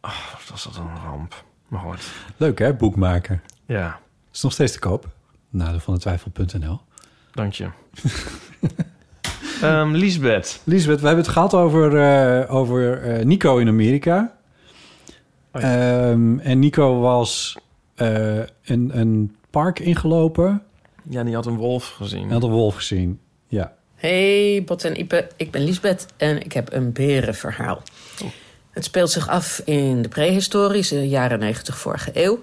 Oh, wat was dat een ramp. Maar goed. Leuk hè, boekmaker. Ja. Is nog steeds te koop. Nadeel van de twijfel.nl. Dank je. Ehm Lisbeth. Lisbeth, we hebben het gehad over, eh, over eh, Nico in Amerika. Oh Ehm, en Nico was eh, een, een park ingelopen. Ja, die had een wolf gezien. en had een wolf gezien. Ja. Hey Bot en Ipe, ik ben Lisbeth en ik heb een berenverhaal. Het speelt zich af in de prehistorische jaren 90 vorige eeuw.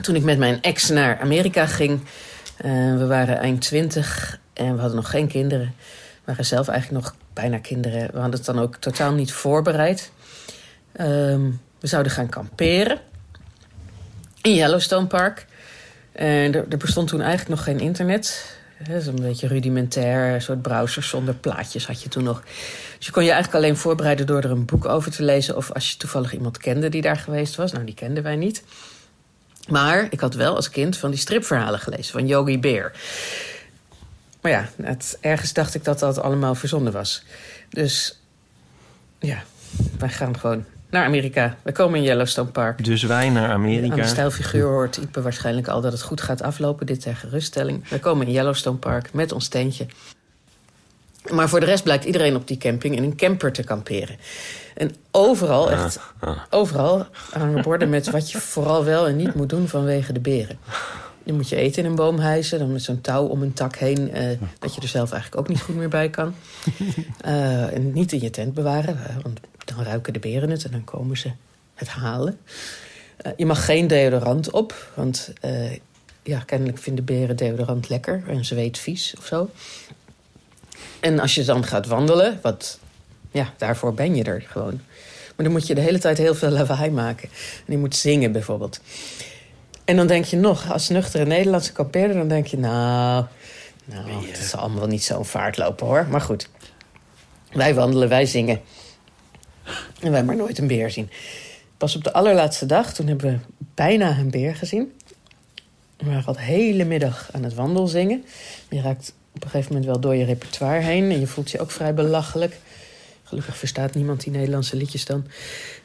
Toen ik met mijn ex naar Amerika ging. eh, we waren eind 20 en we hadden nog geen kinderen. waren zelf eigenlijk nog bijna kinderen. We hadden het dan ook totaal niet voorbereid. Ehm, we zouden gaan kamperen in Yellowstone Park. En er, er bestond toen eigenlijk nog geen internet. Dat is een beetje rudimentair, een soort browsers zonder plaatjes had je toen nog. Dus je kon je eigenlijk alleen voorbereiden door er een boek over te lezen... of als je toevallig iemand kende die daar geweest was. Nou, die kenden wij niet. Maar ik had wel als kind van die stripverhalen gelezen van Yogi Bear. Maar ja, het, ergens dacht ik dat dat allemaal verzonnen was. Dus ja, wij gaan gewoon naar Amerika. We komen in Yellowstone Park. Dus wij naar Aan de Amerika. stijlfiguur hoort Ipe waarschijnlijk al dat het goed gaat aflopen. Dit ter geruststelling. We komen in Yellowstone Park met ons tentje. Maar voor de rest blijkt iedereen op die camping in een camper te kamperen. En overal, Ah. echt overal, hangen borden met wat je vooral wel en niet moet doen vanwege de beren. Je moet je eten in een boom hijsen, dan met zo'n touw om een tak heen... eh, dat je er zelf eigenlijk ook niet goed meer bij kan. Eh, en niet in je tent bewaren, eh, want dan ruiken de beren het en dan komen ze het halen. Eh, je mag geen deodorant op, want eh, ja, kennelijk vinden beren deodorant lekker en zweet vies of zo. En als je dan gaat wandelen, wat, ja, daarvoor ben je er gewoon. Maar dan moet je de hele tijd heel veel lawaai maken. En je moet zingen bijvoorbeeld. En dan denk je nog, als nuchtere Nederlandse kampeerder, dan denk je, nou, nou het zal allemaal niet zo'n vaart lopen hoor. Maar goed, wij wandelen, wij zingen. En wij maar nooit een beer zien. Pas op de allerlaatste dag, toen hebben we bijna een beer gezien. We waren al de hele middag aan het wandelzingen. Je raakt op een gegeven moment wel door je repertoire heen. En je voelt je ook vrij belachelijk. Gelukkig verstaat niemand die Nederlandse liedjes dan.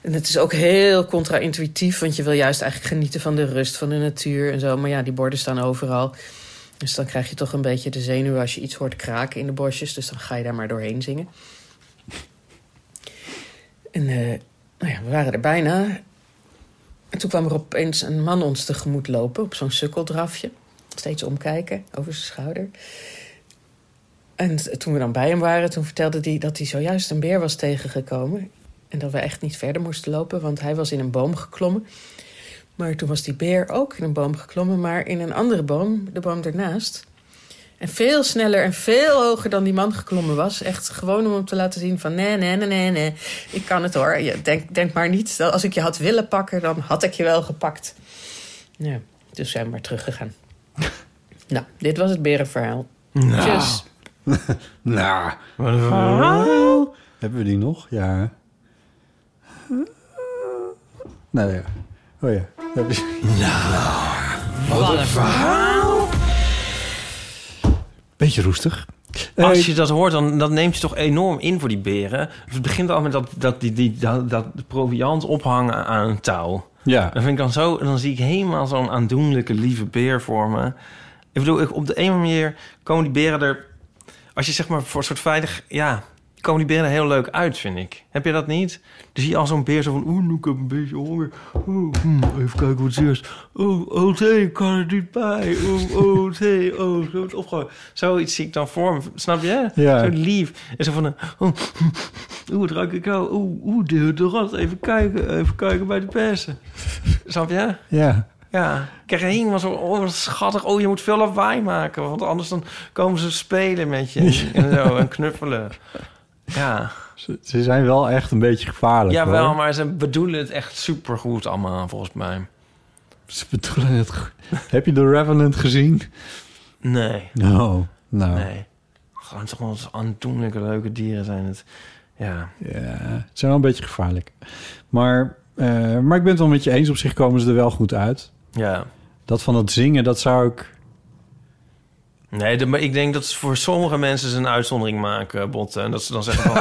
En het is ook heel contra-intuïtief. Want je wil juist eigenlijk genieten van de rust, van de natuur en zo. Maar ja, die borden staan overal. Dus dan krijg je toch een beetje de zenuwen als je iets hoort kraken in de bosjes. Dus dan ga je daar maar doorheen zingen. En eh, nou ja, we waren er bijna. En toen kwam er opeens een man ons tegemoet lopen op zo'n sukkeldrafje. Steeds omkijken over zijn schouder. En t- toen we dan bij hem waren, toen vertelde hij dat hij zojuist een beer was tegengekomen. En dat we echt niet verder moesten lopen, want hij was in een boom geklommen. Maar toen was die beer ook in een boom geklommen, maar in een andere boom, de boom ernaast. En veel sneller en veel hoger dan die man geklommen was. Echt gewoon om hem te laten zien van... nee, nee, nee, nee, nee, ik kan het hoor. Je, denk, denk maar niet, dat als ik je had willen pakken... dan had ik je wel gepakt. Ja, dus zijn we maar teruggegaan. nou, dit was het berenverhaal. Nou. Tjus. nou, verhaal. Hebben we die nog? Ja. Nou ja. Oh ja. Nou, wat een verhaal. Beetje roestig. Als je dat hoort, dan dat neemt je toch enorm in voor die beren. Het begint al met dat, dat, die, die, dat, dat proviant ophangen aan een touw. Ja. Dat vind ik dan zo... Dan zie ik helemaal zo'n aandoenlijke, lieve beer voor me. Ik bedoel, ik- op de een of andere manier komen die beren er... Als je zeg maar voor een soort veilig... Ja, komen die beren er heel leuk uit, vind ik. Heb je dat niet? Dan zie je al zo'n beer zo van... Oeh, nu heb ik een beetje honger. Oeh, hmm, even kijken wat het is. Oeh, oh nee, ik kan er niet bij. Oeh, oh nee, oh, zo wordt opgehangen. Zoiets zie ik dan voor me, snap je? Ja. Zo lief. En zo van... eh, Oeh, oeh, wat ruik ik nou? Oeh, oeh, de, de rat. Even kijken, even kijken bij de persen. Snap je? Ja. Ja, ik krijg er helemaal zo, oh wat schattig, oh je moet veel lawaai maken, want anders dan komen ze spelen met je en zo en knuffelen. Ja, Ze, ze zijn wel echt een beetje gevaarlijk. ja wel, hoor. maar ze bedoelen het echt supergoed allemaal volgens mij. Ze bedoelen het goed. Heb je The Revenant gezien? Nee. Nou, nou. Nee, gewoon toch wel eens aandoenlijke leuke dieren zijn het. Ja. Ja, ze zijn wel een beetje gevaarlijk. Maar, eh, maar ik ben het wel met je eens. Op zich komen ze er wel goed uit. Ja. Dat van dat zingen, dat zou ik... Nee, de- maar ik denk dat ze voor sommige mensen ze een uitzondering maken, Botten. En dat ze dan zeggen, van,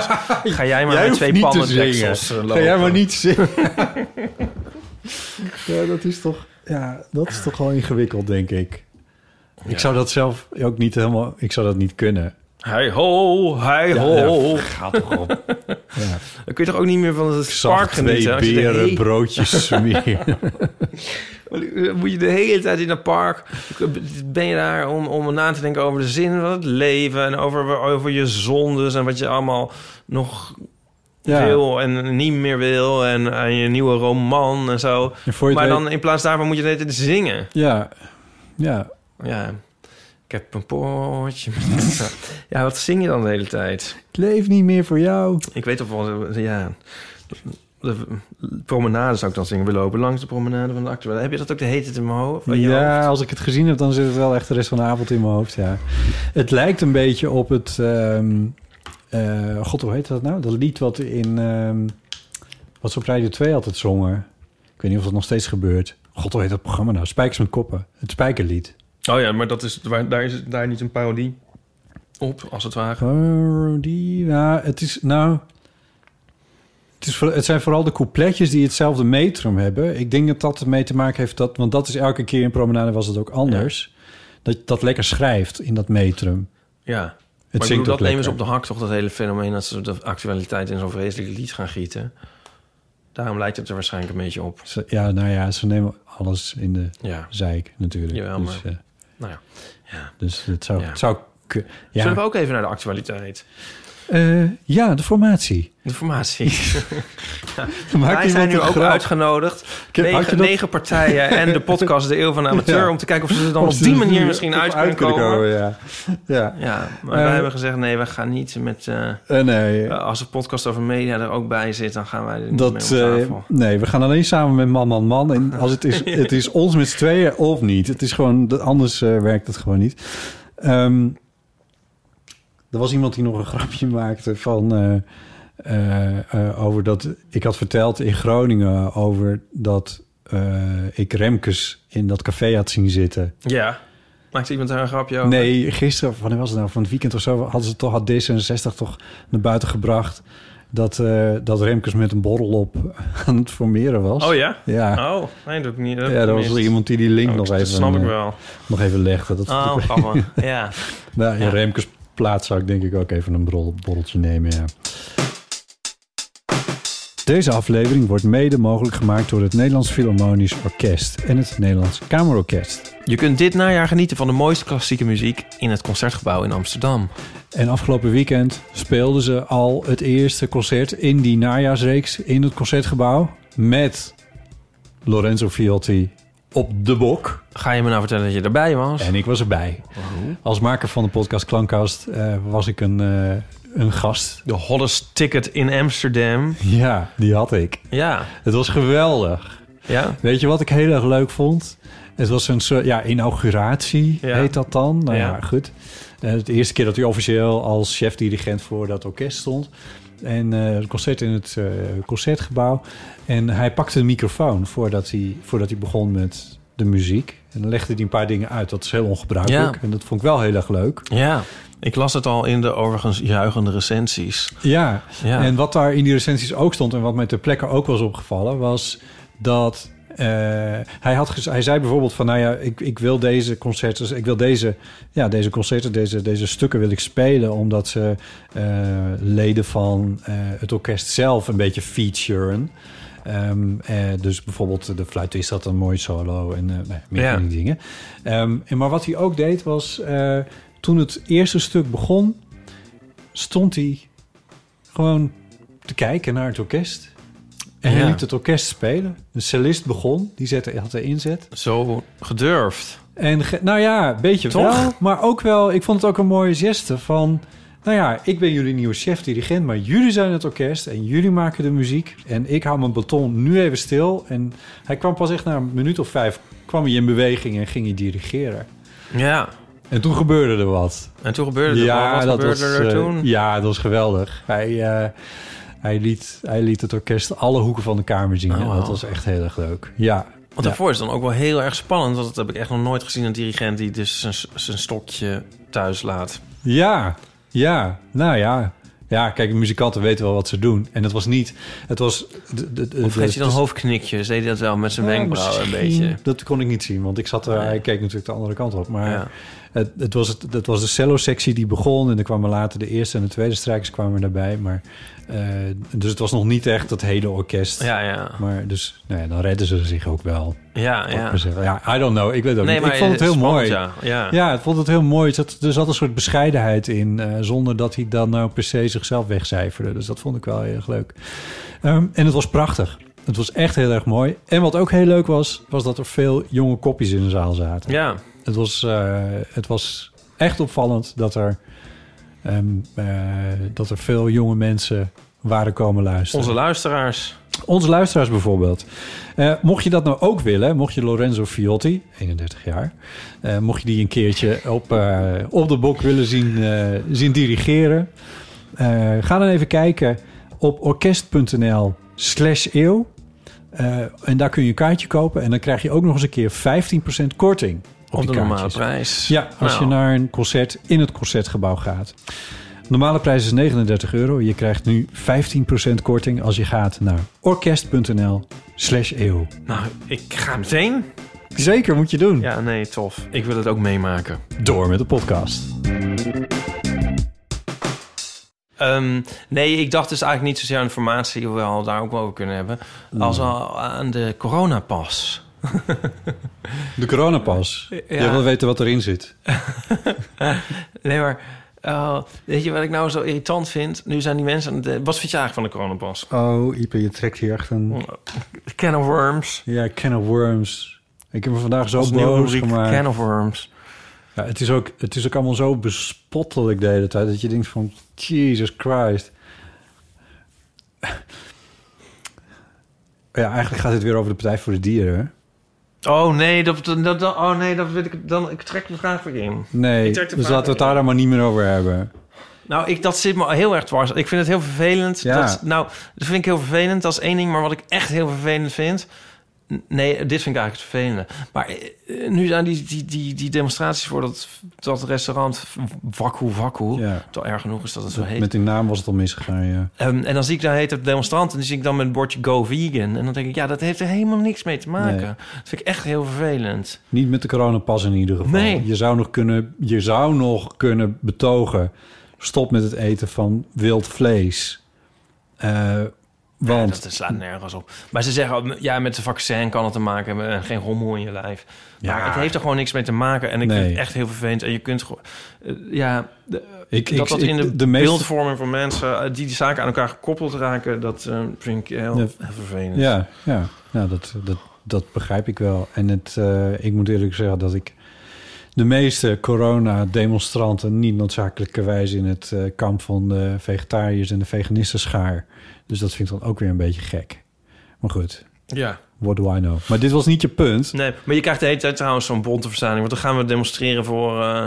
ga jij maar met hoeft twee niet te pannendeksels eh, zingen. lopen. Ga jij maar niet zingen. ja, dat is toch... Ja, dat is toch wel ingewikkeld, denk ik. Ik zou dat zelf ook niet helemaal... Ik zou dat niet kunnen. Hey ho, hey Ja, ho. ja, gaat toch op. Dan kun je toch ook niet meer van het Zacht spark twee genieten. als je de beren hele- broodjes smeren. Dan Moet je de hele tijd in dat park... Ben je daar om, om na te denken over de zin van het leven... en over, over je zondes en wat je allemaal nog Ja. wil en niet meer wil... en, en je nieuwe roman en zo. En voor je het maar weet- dan in plaats daarvan moet je de hele tijd zingen. ja, ja. Ja. Ik heb een potje. met- ja, wat zing je dan de hele tijd? Ik leef niet meer voor jou. Ik weet of wel, ja. De promenade zou ik dan zingen. We lopen langs de promenade van de acteur. Heb je dat ook de hete in mijn hoofd? in je hoofd? Ja, als ik het gezien heb, dan zit het wel echt de rest van de avond in mijn hoofd. Ja. Het lijkt een beetje op het. ehm, eh, God, hoe heet dat nou? Dat lied wat in. ehm, wat ze op Radio 2 altijd zongen. Ik weet niet of dat nog steeds gebeurt. God, hoe heet dat programma nou? Spijkers met koppen. Het spijkerlied. Oh ja, maar dat is, waar- daar is daar niet een parodie op, als het ware. Parodie. Nou, het is nou. Het, is, voor- het zijn vooral de coupletjes die hetzelfde metrum hebben. Ik denk dat dat ermee te maken heeft dat, want dat is elke keer in Promenade was het ook anders. Dat dat lekker schrijft in dat metrum. Ja. maar Het ik zingt bedoel, dat ook nemen ze lekker. op de hak toch, dat hele fenomeen... dat ze de actualiteit in zo'n vreselijk lied gaan gieten. Daarom lijkt het er waarschijnlijk een beetje op. Ze- ja, nou ja, ze nemen alles in de Ja. zeik natuurlijk. Jawel, dus, maar- eh, Nou ja. ja. dus het zou, Ja. het zou ku- ja. Zullen we ook even naar de actualiteit? Eh, ja, de formatie. De formatie. ja. Wij iemand zijn nu een ook grap? uitgenodigd. Ik heb- had je negen, dat- negen partijen en de podcast De Eeuw van de Amateur... Ja. om te kijken of ze er dan Of op ze die er manier nu misschien toch uit kunnen komen. ja. Ja. Ja, maar Eh, wij hebben gezegd... nee, we gaan niet met... eh, Eh, nee. eh, als de podcast over media er ook bij zit... dan gaan wij er niet mee Dat, om eh, tafel. nee, we gaan alleen samen met man, man, man. En als het is, het is ons met z'n tweeën of niet. Het is gewoon, dat- anders eh, werkt het gewoon niet. Ehm, er was iemand die nog een grapje maakte van... eh, eh, eh, over dat ik had verteld in Groningen over dat eh, ik Remkes in dat café had zien zitten. Ja. Maakt iemand daar een grapje over? eh, Nee, gisteren, of wanneer was het nou? Van het weekend of zo hadden ze toch, had D66 toch naar buiten gebracht... dat, eh, dat Remkes met een borrel op aan het formeren was. Oh ja? Ja. Oh, nee, dat heb ik niet. Ja, dat was er iemand die die link Oh, nog dat even... snap ik eh, wel. Nog even legde. Dat Oh, grappig. Ja. nou, in Remkes plaats zou ik denk ik ook even een borrel- borreltje nemen, ja. Deze aflevering wordt mede mogelijk gemaakt door het Nederlands Philharmonisch Orkest en het Nederlands Kamerorkest. Je kunt dit najaar genieten van de mooiste klassieke muziek in het Concertgebouw in Amsterdam. En afgelopen weekend speelden ze al het eerste concert in die najaarsreeks in het concertgebouw met Lorenzo Fiotti op de bok. Ga je me nou vertellen dat je erbij was? En ik was erbij. Als maker van de podcast Klankkast eh, was ik een, eh, een gast. De hottest ticket in Amsterdam. Ja, die had ik. Ja. Het was geweldig. Ja. Weet je wat ik heel erg leuk vond? Het was een soort ja, inauguratie, heet dat dan. Nou ja, Ja. goed. Eh, het eerste keer dat hij officieel als chef-dirigent voor dat orkest stond. En eh, het concert in het eh, concertgebouw. En hij pakte de microfoon voordat hij, voordat hij begon met de muziek. En dan legde hij een paar dingen uit. Dat is heel ongebruikelijk. Ja. En dat vond ik wel heel erg leuk. Ja. Ik las het al in de overigens juichende recensies. Ja. Ja. en wat daar in die recensies ook stond... en wat mij ter plekke ook was opgevallen... was dat eh, hij, had gez- hij zei bijvoorbeeld van... nou ja, ik, ik wil deze concerten... ik wil deze, ja, deze concerten, deze, deze stukken wil ik spelen... omdat ze eh, leden van eh, het orkest zelf een beetje featuren... Ehm, eh, dus bijvoorbeeld de fluitist had een mooi solo en eh, nou ja, meer Ja. van die dingen. Ehm, en maar wat hij ook deed was, eh, toen het eerste stuk begon, stond hij gewoon te kijken naar het orkest. En hij Ja. liet het orkest spelen. Een cellist begon, die zette, had de inzet. Zo gedurfd. En ge- nou ja, een beetje Toch? wel. Maar ook wel, ik vond het ook een mooie geste van... Nou ja, ik ben jullie nieuwe chef-dirigent, maar jullie zijn het orkest en jullie maken de muziek. En ik hou mijn baton nu even stil. En hij kwam pas echt na een minuut of vijf, kwam hij in beweging en ging hij dirigeren. Ja. En toen gebeurde er wat. En toen gebeurde er wat. Wat gebeurde er eh, toen? ja, dat was geweldig. Hij, eh, hij, liet, hij liet het orkest alle hoeken van de kamer zien. Oh, En wow. dat was echt heel erg leuk. Ja. Want Ja. daarvoor is het dan ook wel heel erg spannend. Want dat heb ik echt nog nooit gezien. Een dirigent die dus zijn, zijn stokje thuis laat. Ja, ja, nou ja. Ja, kijk, muzikanten weten wel wat ze doen. En het was niet... Het was... de- de- de- Of geeft hij dan de- hoofdknikjes? Deed hij dat wel met zijn Nou, wenkbrauwen een misschien. beetje? Ah, Dat kon ik niet zien, want ik zat er... Nee. Hij keek natuurlijk de andere kant op. Maar het, het was het, dat was de cello-sectie die begon. En er kwamen later de eerste en de tweede strijkers kwamen daarbij. Maar, eh, dus het was nog niet echt dat hele orkest. Ja, ja. Maar dus, nou ja, dan redden ze zich ook wel. Ja, Wat ja. ik maar zeggen. Ja, I don't know. Nou, Ik weet het ook Nee, niet. maar Ik vond het heel spannend, mooi. ja. Ja. ik vond het heel mooi. Er zat, er zat een soort bescheidenheid in. eh, zonder dat hij dan nou per se zichzelf wegcijferde. Dus dat vond ik wel heel erg leuk. Ehm, en het was prachtig. Het was echt heel erg mooi. En wat ook heel leuk was, was dat er veel jonge kopjes in de zaal zaten. Ja. Het was, eh, het was echt opvallend dat er, ehm, eh, dat er veel jonge mensen waren komen luisteren. Onze luisteraars. Onze luisteraars bijvoorbeeld. Eh, mocht je dat nou ook willen, mocht je Lorenzo Fiotti, 31 jaar, eh, mocht je die een keertje op, eh, op de bok willen zien, eh, zien dirigeren, eh, ga dan even kijken op orkest.nl/slash eeuw. Eh, en daar kun je een kaartje kopen en dan krijg je ook nog eens een keer 15% korting. Op, Op die de normale kaartjes. prijs. Ja, als Nou. je naar een concert in het concertgebouw gaat. Normale prijs is 39 euro. Je krijgt nu 15% korting als je gaat naar orkest.nl slash eeuw. Nou, ik ga meteen. Zeker, moet je doen. Ja, nee, tof. Ik wil het ook meemaken. Door met de podcast. Ehm, nee, ik dacht dus eigenlijk niet zozeer aan informatie, hoewel we daar ook wel over kunnen hebben, Hmm. als al aan de coronapas. De coronapas. Ja. Je wil weten wat erin zit. Nee, maar eh, weet je wat ik nou zo irritant vind? Nu zijn die mensen... aan het- eh, Wat vind je eigenlijk van de coronapas? Oh, Ipe, je trekt hier echt een... Can of worms. Ja, can of worms. Ik heb me vandaag zo Ons nieuwe boos rubriek, gemaakt. can of worms. Ja, het, is ook, het is ook allemaal zo bespottelijk de hele tijd... dat je denkt van, Jesus Christ. Ja, eigenlijk gaat het weer over de Partij voor de Dieren. hè? Oh nee, dat, dat, dat- oh, nee, dat wil ik... Dan, ik trek de vraag weer in. Nee, Ik dus trek de laten vraag we het daar dan maar niet meer over hebben. Nou, ik, dat zit me heel erg dwars. Ik vind het heel vervelend. Ja. Dat, nou, dat vind ik heel vervelend. Dat is één ding. Maar wat ik echt heel vervelend vind... N- Nee, dit vind ik eigenlijk het vervelende. Maar eh, eh, nu zijn die, die, die, die demonstraties voor dat, dat restaurant Wakku Wakku. Toch erg genoeg is dat het zo heet. Met die naam was het al misgegaan, ja. Ehm, en dan zie ik daar heet het demonstrant en die zie ik dan met een bordje Go Vegan. En dan denk ik, ja, dat heeft er helemaal niks mee te maken. Nee. Dat vind ik echt heel vervelend. Niet met de coronapas in ieder geval. Nee. Je, zou nog kunnen, je zou nog kunnen betogen... stop met het eten van wild vlees. Eh, want... Dat slaat nergens op. Maar ze zeggen, ook, ja, met de vaccin kan het te maken hebben. en Geen rommel in je lijf. Maar Ja. het heeft er gewoon niks mee te maken. En ik Nee. vind het echt heel vervelend. En je kunt gewoon... eh, ja, de- Ik- dat ik- dat ik- in de, de meeste- beeldvorming van mensen... eh, die die zaken aan elkaar gekoppeld raken... dat eh, vind ik heel, Ja. heel vervelend. Ja, ja. Nou, dat, dat, dat begrijp ik wel. En het, eh, ik moet eerlijk zeggen dat ik de meeste corona-demonstranten niet noodzakelijkerwijs in het eh, kamp van de vegetariërs en de veganisten schaar. Dus dat vind ik dan ook weer een beetje gek. Maar goed. Ja. What do I know? Maar dit was niet je punt. Nee, maar je krijgt de hele tijd trouwens zo'n bonte verzameling. Want dan gaan we demonstreren voor eh,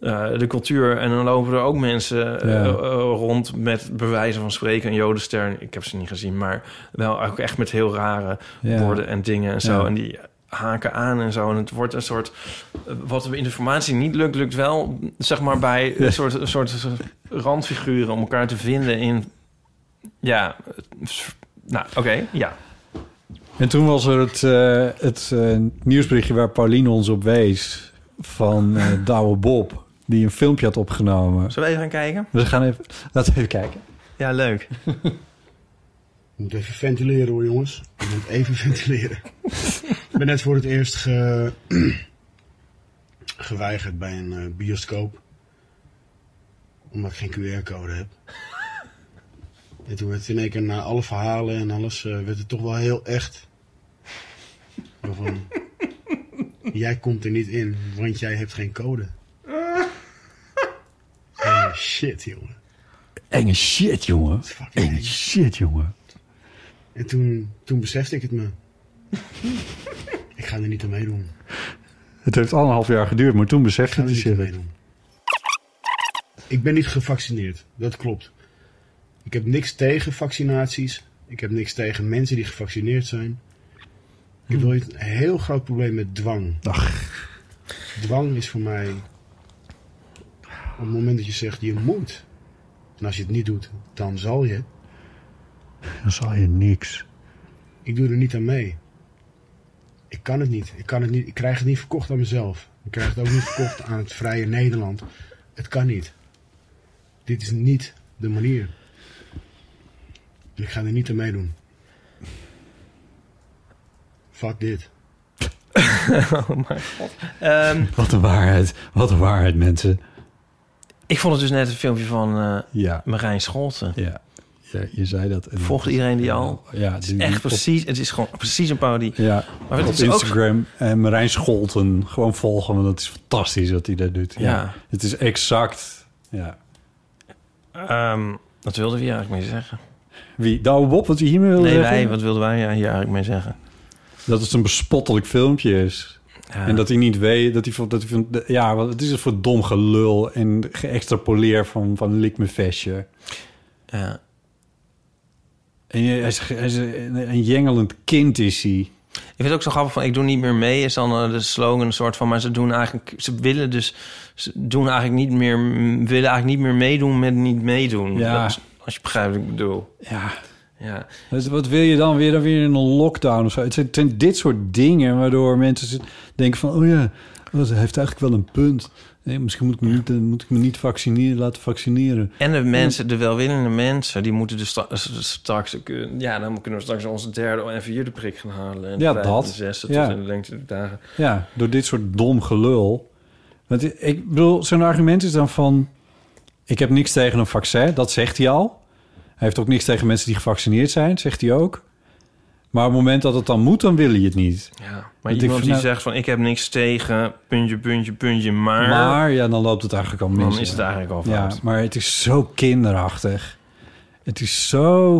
eh, de cultuur. En dan lopen er ook mensen eh, Ja. eh, rond met bewijzen van spreken. Een jodenster. Ik heb ze niet gezien, maar wel ook echt met heel rare Ja. woorden en dingen en zo. Ja. En die haken aan en zo. En het wordt een soort... eh, wat we in de formatie niet lukt, lukt wel... zeg maar bij een soort, een soort randfiguren om elkaar te vinden in... Ja, het- nou, oké, ja. En toen was er het, eh, het eh, nieuwsberichtje waar Pauline ons op wees van eh Douwe Bob, die een filmpje had opgenomen. Zullen we even gaan kijken? We gaan even, laten we even kijken. Ja, leuk. moet even ventileren hoor, jongens. Ik moet even ventileren. Ik ben net voor het eerst ge- geweigerd bij een eh, bioscoop. Omdat ik geen QR-code heb. En toen werd het in één keer na alle verhalen en alles... eh, werd het toch wel heel echt. Zo van, jij komt er niet in, want jij hebt geen code. Ah, Eh, shit, jongen. Enge shit, jongen. Enge shit, jongen. En toen, toen besefte ik het me. ik ga er niet aan meedoen. Het heeft anderhalf jaar geduurd, maar toen besefte hij zich. Ik ben niet gevaccineerd, dat klopt. Ik heb niks tegen vaccinaties. Ik heb niks tegen mensen die gevaccineerd zijn. Hmm. Ik heb wel een heel groot probleem met dwang. Dwang is voor mij op het moment dat je zegt je moet. En als je het niet doet, dan zal je. Dan zal je niks. Ik doe er niet aan mee. Ik kan het niet. Ik, kan het niet. ik krijg het niet verkocht aan mezelf. Ik krijg het ook niet verkocht aan het vrije Nederland. Het kan niet. Dit is niet de manier. Dus ik ga er niet aan meedoen. Fuck dit. oh mijn god. Ehm, Wat een waarheid. Wat een waarheid, mensen. ik vond het dus net een filmpje van eh Ja. Marijn Scholten. Ja. Ja, je zei dat. en- Volgt iedereen die al? Ja, het is die- echt op- precies. Het is gewoon precies een parodie. Ja, maar het op is ook Instagram. En Marijn Scholten. Gewoon volgen, want dat is fantastisch wat hij daar doet. Ja. Het is exact. Ja. Ehm, wat wilden we hier eigenlijk mee zeggen? Wie? Nou, Bob, wat hij hiermee wilde nee, zeggen? wij. Wat wilden wij hier eigenlijk mee zeggen? Dat het een bespottelijk filmpje is. Ja. En dat hij niet weet, dat hij, van- dat hij van... de- Ja, wat het is het voor dom gelul en geëxtrapoleer van, van lik me vestje. Ja. En je- hij is, hij is een, een jengelend kind is hij. Ik vind het ook zo grappig van ik doe niet meer mee is dan eh, de slogan een soort van maar ze doen eigenlijk ze willen dus ze doen eigenlijk niet meer willen eigenlijk niet meer meedoen met niet meedoen. Ja. Dat is- als je begrijpt wat ik bedoel. Ja. Ja. Dus wat wil je dan weer, dan weer in een lockdown of zo? Het zijn, het zijn dit soort dingen waardoor mensen zit- denken van... oh ja, wat, hij heeft eigenlijk wel een punt. Nee, misschien moet ik, me niet, eh, moet ik me niet vaccineren, laten vaccineren. En de mensen, de welwillende mensen, die moeten dus stra- s- straks... Ja, dan kunnen we straks onze derde en vierde prik gaan halen. En Ja, de vijfde, dat. De zesde Ja. tot in de lengte der dagen. Ja, door dit soort dom gelul. Want i- ik bedoel, zijn argument is dan van... ik heb niks tegen een vaccin, dat zegt hij al. Hij heeft ook niks tegen mensen die gevaccineerd zijn, zegt hij ook. Maar op het moment dat het dan moet, dan wil hij het niet. Ja, maar Want ik iemand vind die nou- zegt van ik heb niks tegen, puntje, puntje, puntje, maar... Maar ja, dan loopt het eigenlijk al mis. Dan is het eigenlijk al Ja, fout. maar het is zo kinderachtig. Het is zo...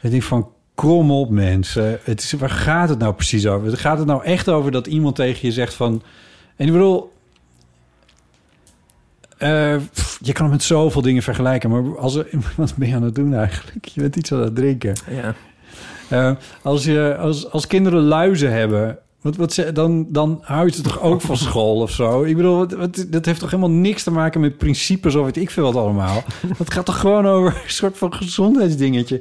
Ik denk van, kom op mensen. Het is, waar gaat het nou precies over? Gaat het nou echt over dat iemand tegen je zegt van... En ik bedoel... eh, pff, je kan het met zoveel dingen vergelijken. Maar als er, wat ben je aan het doen eigenlijk? Je bent iets aan het drinken. Ja. Eh, als, je, als, als kinderen luizen hebben, wat, wat ze, dan, dan hou je ze toch ook van school of zo? Ik bedoel, wat, wat- dat heeft toch helemaal niks te maken met principes of weet ik veel wat allemaal? Dat gaat toch gewoon over een soort van gezondheidsdingetje?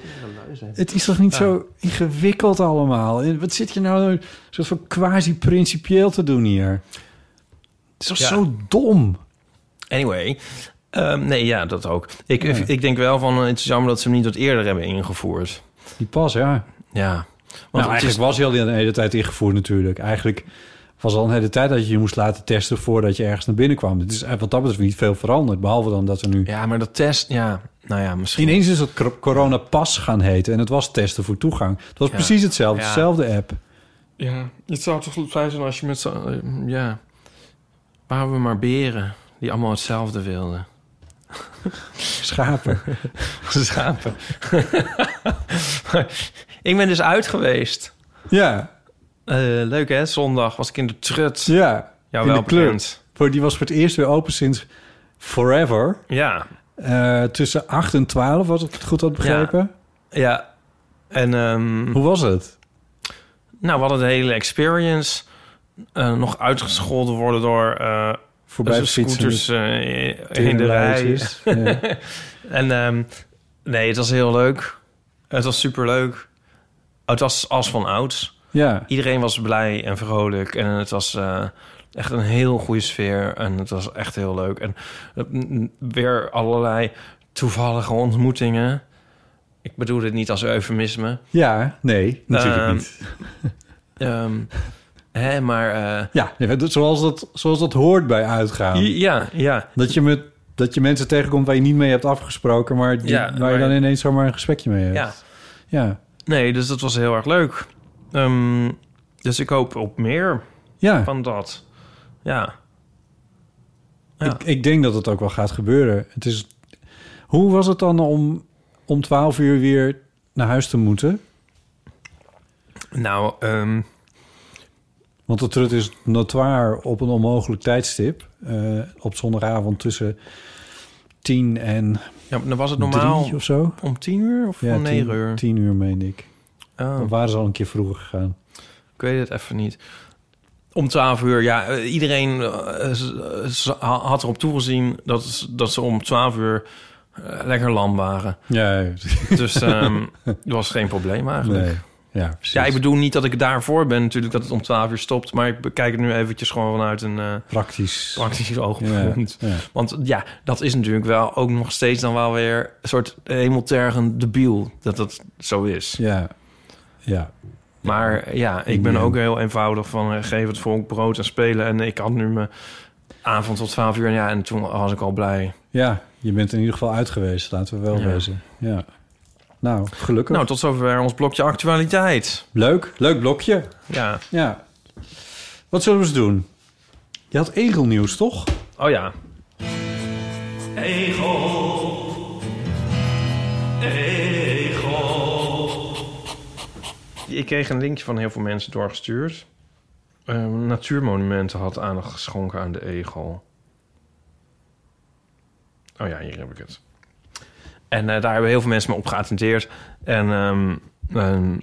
Het is toch niet zo ingewikkeld allemaal? En Wat zit je nou een soort van quasi-principieel te doen hier? Het is toch Ja. zo dom? Anyway, ehm, nee, ja, dat ook. Ik, Ja. ik denk wel van, eh, het is jammer dat ze hem niet wat eerder hebben ingevoerd. Die pas, ja. Ja. Want nou, het eigenlijk is- was hij al de hele tijd ingevoerd natuurlijk. Eigenlijk was al een hele tijd dat je je moest laten testen... voordat je ergens naar binnen kwam. Het is eh, wat dat betreft niet veel veranderd. Behalve dan dat er nu... Ja, maar dat test... Ja, nou ja, misschien... Ineens is dat cor- coronapas gaan heten. En het was testen voor toegang. Het was Ja. precies hetzelfde. Ja. Dezelfde app. Ja, het zou toch fijn zijn als je met z'n... eh, Ja, waren we maar beren die allemaal hetzelfde wilden. Schapen. Schapen. ik ben dus uit geweest. Eh, Ja. leuk hè, zondag was ik in de trut. Ja, Ja, in wel de club. bekend. Voor- Die was voor het eerst weer open sinds forever. Ja. Eh, tussen 8 en 12 was ik het goed had begrepen. Ja. En, ehm, Hoe was het? Nou, we hadden de hele experience. eh, nog uitgescholden worden door... eh Voorbij scooters eh, in de rij. Tierenlijstjes, ja. en ehm, nee, het was heel leuk. Het was superleuk. Het was als van ouds. Ja. Iedereen was blij en vrolijk. En het was eh, echt een heel goede sfeer. En het was echt heel leuk. En eh, m- weer allerlei toevallige ontmoetingen. Ik bedoel dit niet als eufemisme. Ja, nee, natuurlijk Ehm, niet. ehm, hè, maar... eh, Ja, zoals dat, zoals dat hoort bij uitgaan. Ja, ja. Dat je, met, dat je mensen tegenkomt waar je niet mee hebt afgesproken... maar die, Ja, waar maar- je dan ineens zomaar een gesprekje mee hebt. Ja. Ja. Nee, dus dat was heel erg leuk. Ehm, dus ik hoop op meer Ja. van dat. Ja. Ik, ik denk dat het ook wel gaat gebeuren. Het is, hoe was het dan om, om 12 uur weer naar huis te moeten? Nou, ehm, Want de trut is notoir op een onmogelijk tijdstip. eh, op zondagavond tussen 10 en ja, dan was het normaal drie of zo. om tien uur of om negen tien- uur? Tien uur, meen ik. Oh. Dan waren ze al een keer vroeger gegaan. Ik weet het even niet. Om 12 uur, ja, eh, iedereen eh, ze- ze ha- had erop toegezien dat, ze- dat ze om 12 uur eh, lekker lam waren. Ja, Dus ehm dat was geen probleem eigenlijk. Nee. Ja, precies. Ja, ik bedoel niet dat ik daarvoor ben natuurlijk dat het om 12 uur stopt, maar ik bekijk het nu eventjes gewoon vanuit een eh, Praktisch. praktisch oogpunt. Ja, ja. Want ja, dat is natuurlijk wel ook nog steeds dan wel weer een soort hemeltergend debiel dat dat zo is. Ja, ja. Maar ja, ik ben Ja. ook heel eenvoudig van eh, geef het volk brood en spelen. En ik had nu mijn avond tot 12 uur. En ja, en toen was ik al blij. Ja, je bent in ieder geval uit geweest, laten we wel Ja. wezen. Ja. Nou, gelukkig. Nou, tot zover ons blokje actualiteit. Leuk, leuk blokje. Ja. Ja. Wat zullen we eens doen? Je had egelnieuws, toch? Oh ja. Egel. Egel. Ik kreeg een linkje van heel veel mensen doorgestuurd. Eh, natuurmonumenten had aandacht geschonken aan de egel. Oh ja, hier heb ik het. En eh, daar hebben heel veel mensen me op geattendeerd. En ehm, ehm,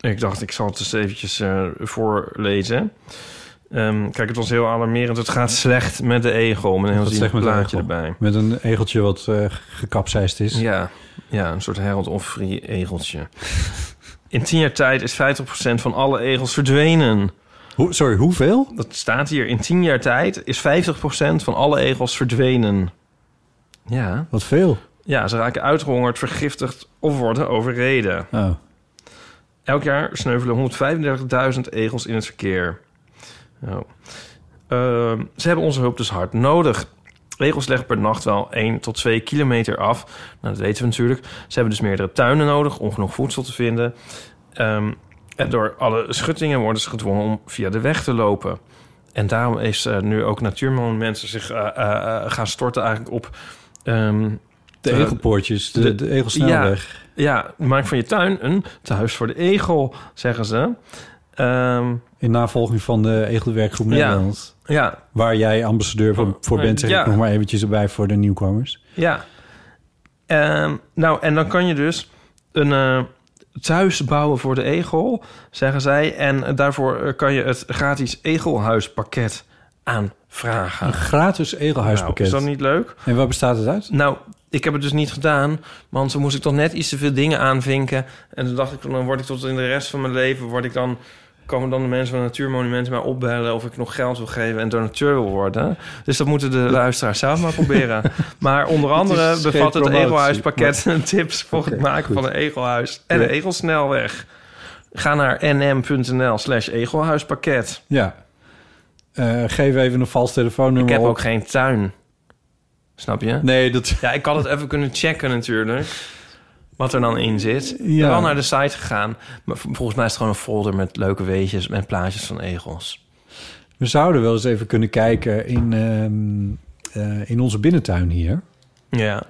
ik dacht, ik zal het eens eventjes eh, voorlezen. Ehm, kijk, het was heel alarmerend. Het gaat slecht met de egel. Met een heel Wat zielig zegt met een plaatje egel? erbij. Met een egeltje wat eh gekapseist is. Ja, ja een soort Harold Offrey egeltje. In tien jaar tijd is 50% van alle egels verdwenen. Hoe, sorry, hoeveel? Dat staat hier. In tien jaar tijd is 50% van alle egels verdwenen. Ja. Wat veel. Ja, ze raken uitgehongerd, vergiftigd of worden overreden. Oh. Elk jaar sneuvelen 135.000 egels in het verkeer. Nou, ehm, ze hebben onze hulp dus hard nodig. Egels leggen per nacht wel 1 tot 2 kilometer af. Nou, dat weten we natuurlijk. Ze hebben dus meerdere tuinen nodig om genoeg voedsel te vinden. Ehm, en door alle schuttingen worden ze gedwongen om via de weg te lopen. En daarom is eh, nu ook Natuurmonumenten zich eh, eh, eh, gaan storten eigenlijk op... ehm, De eh, egelpoortjes, de- de egelsnelweg. Ja, ja, maak van je tuin een thuis voor de egel, zeggen ze. Ehm, In navolging van de Egelwerkgroep Ja. Nederland. Ja. Waar jij ambassadeur voor, voor nee, bent, zeg ja. ik nog maar eventjes erbij voor de nieuwkomers. ja. Ehm, nou, en dan kan je dus een eh, thuis bouwen voor de egel, zeggen zij. En eh, daarvoor eh, kan je het gratis egelhuispakket aanvragen. Een gratis egelhuispakket. Nou, is dat niet leuk? En waar bestaat het uit? Nou, ik heb het dus niet gedaan, want toen moest ik toch net iets te veel dingen aanvinken. En toen dacht ik, dan word ik tot in de rest van mijn leven, word ik dan, komen dan de mensen van Natuurmonumenten mij opbellen of ik nog geld wil geven en donateur wil worden. Dus dat moeten de luisteraars zelf maar proberen. Maar onder Het is andere geen bevat het promotie, Egelhuispakket maar- tips voor het maken van een egelhuis en Ja. een egelsnelweg. Ga naar nm.nl slash egelhuispakket. Ja. Eh, geef even een vals telefoonnummer Ik heb op. ook geen tuin. Snap je? Nee, dat... Ja, ik had het even kunnen checken natuurlijk. Wat er dan in zit. Ik ben Ja. wel naar de site gegaan. Maar v- volgens mij is het gewoon een folder met leuke weetjes... en plaatjes van egels. We zouden wel eens even kunnen kijken in, ehm, eh, in onze binnentuin hier. Ja.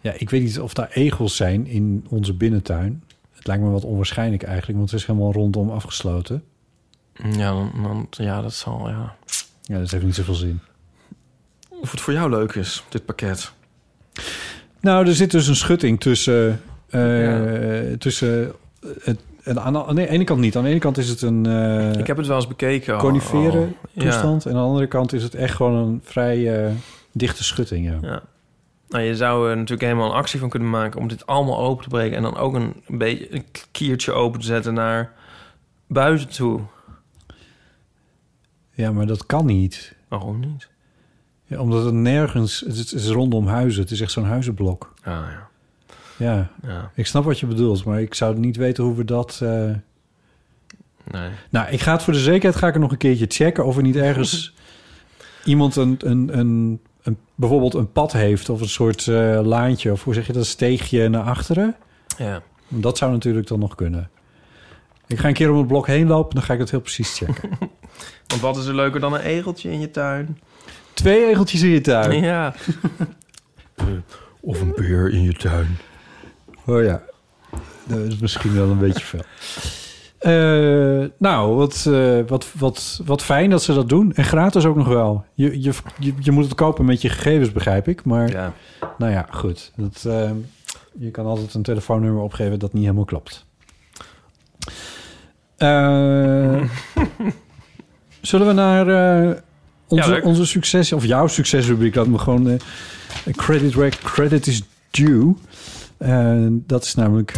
Ja, ik weet niet of daar egels zijn in onze binnentuin. Het lijkt me wat onwaarschijnlijk eigenlijk, want het is helemaal rondom afgesloten. Ja, dan, dan- ja dat zal, ja. Ja, dat heeft niet zoveel zin. Of het voor jou leuk is, dit pakket. Nou, er zit dus een schutting tussen. eh, tussen het, en aan, de, aan de ene kant niet. Aan de ene kant is het een. eh, Ik heb het wel eens bekeken al. Coniferen Ja. toestand. En aan de andere kant is het echt gewoon een vrij eh, dichte schutting. Ja. Ja. Nou, je zou er natuurlijk helemaal een actie van kunnen maken... om dit allemaal open te breken... en dan ook een, een beetje een kiertje open te zetten naar buiten toe. Ja, maar dat kan niet. Waarom niet? Ja, omdat het nergens. Het, is- het is rondom huizen. Het is echt zo'n huizenblok. Ah, ja. Ja. Ja. Ik snap wat je bedoelt, maar ik zou niet weten hoe we dat. eh, Nee. Nou, ik ga het voor de zekerheid ga ik er nog een keertje checken of er niet ergens iemand een, een, een, een bijvoorbeeld een pad heeft of een soort eh, laantje of hoe zeg je dat steegje naar achteren. Ja. Dat zou natuurlijk dan nog kunnen. Ik ga een keer om het blok heen lopen, dan ga ik het heel precies checken. Want wat is er leuker dan een egeltje in je tuin? Twee egeltjes in je tuin. Ja. of een beer in je tuin. Oh ja, Eh, dat is misschien wel een beetje veel. Eh, nou, wat, eh, wat, wat, wat fijn dat ze dat doen. En gratis ook nog wel. Je, je, je, je moet het kopen met je gegevens, begrijp ik. Maar nou ja, goed. Dat, eh, je kan altijd een telefoonnummer opgeven dat niet helemaal klopt. Eh, zullen we naar eh, onze, leuk. onze succes, of jouw succesrubriek, laten we gewoon eh, credit where credit is due. Eh, dat is namelijk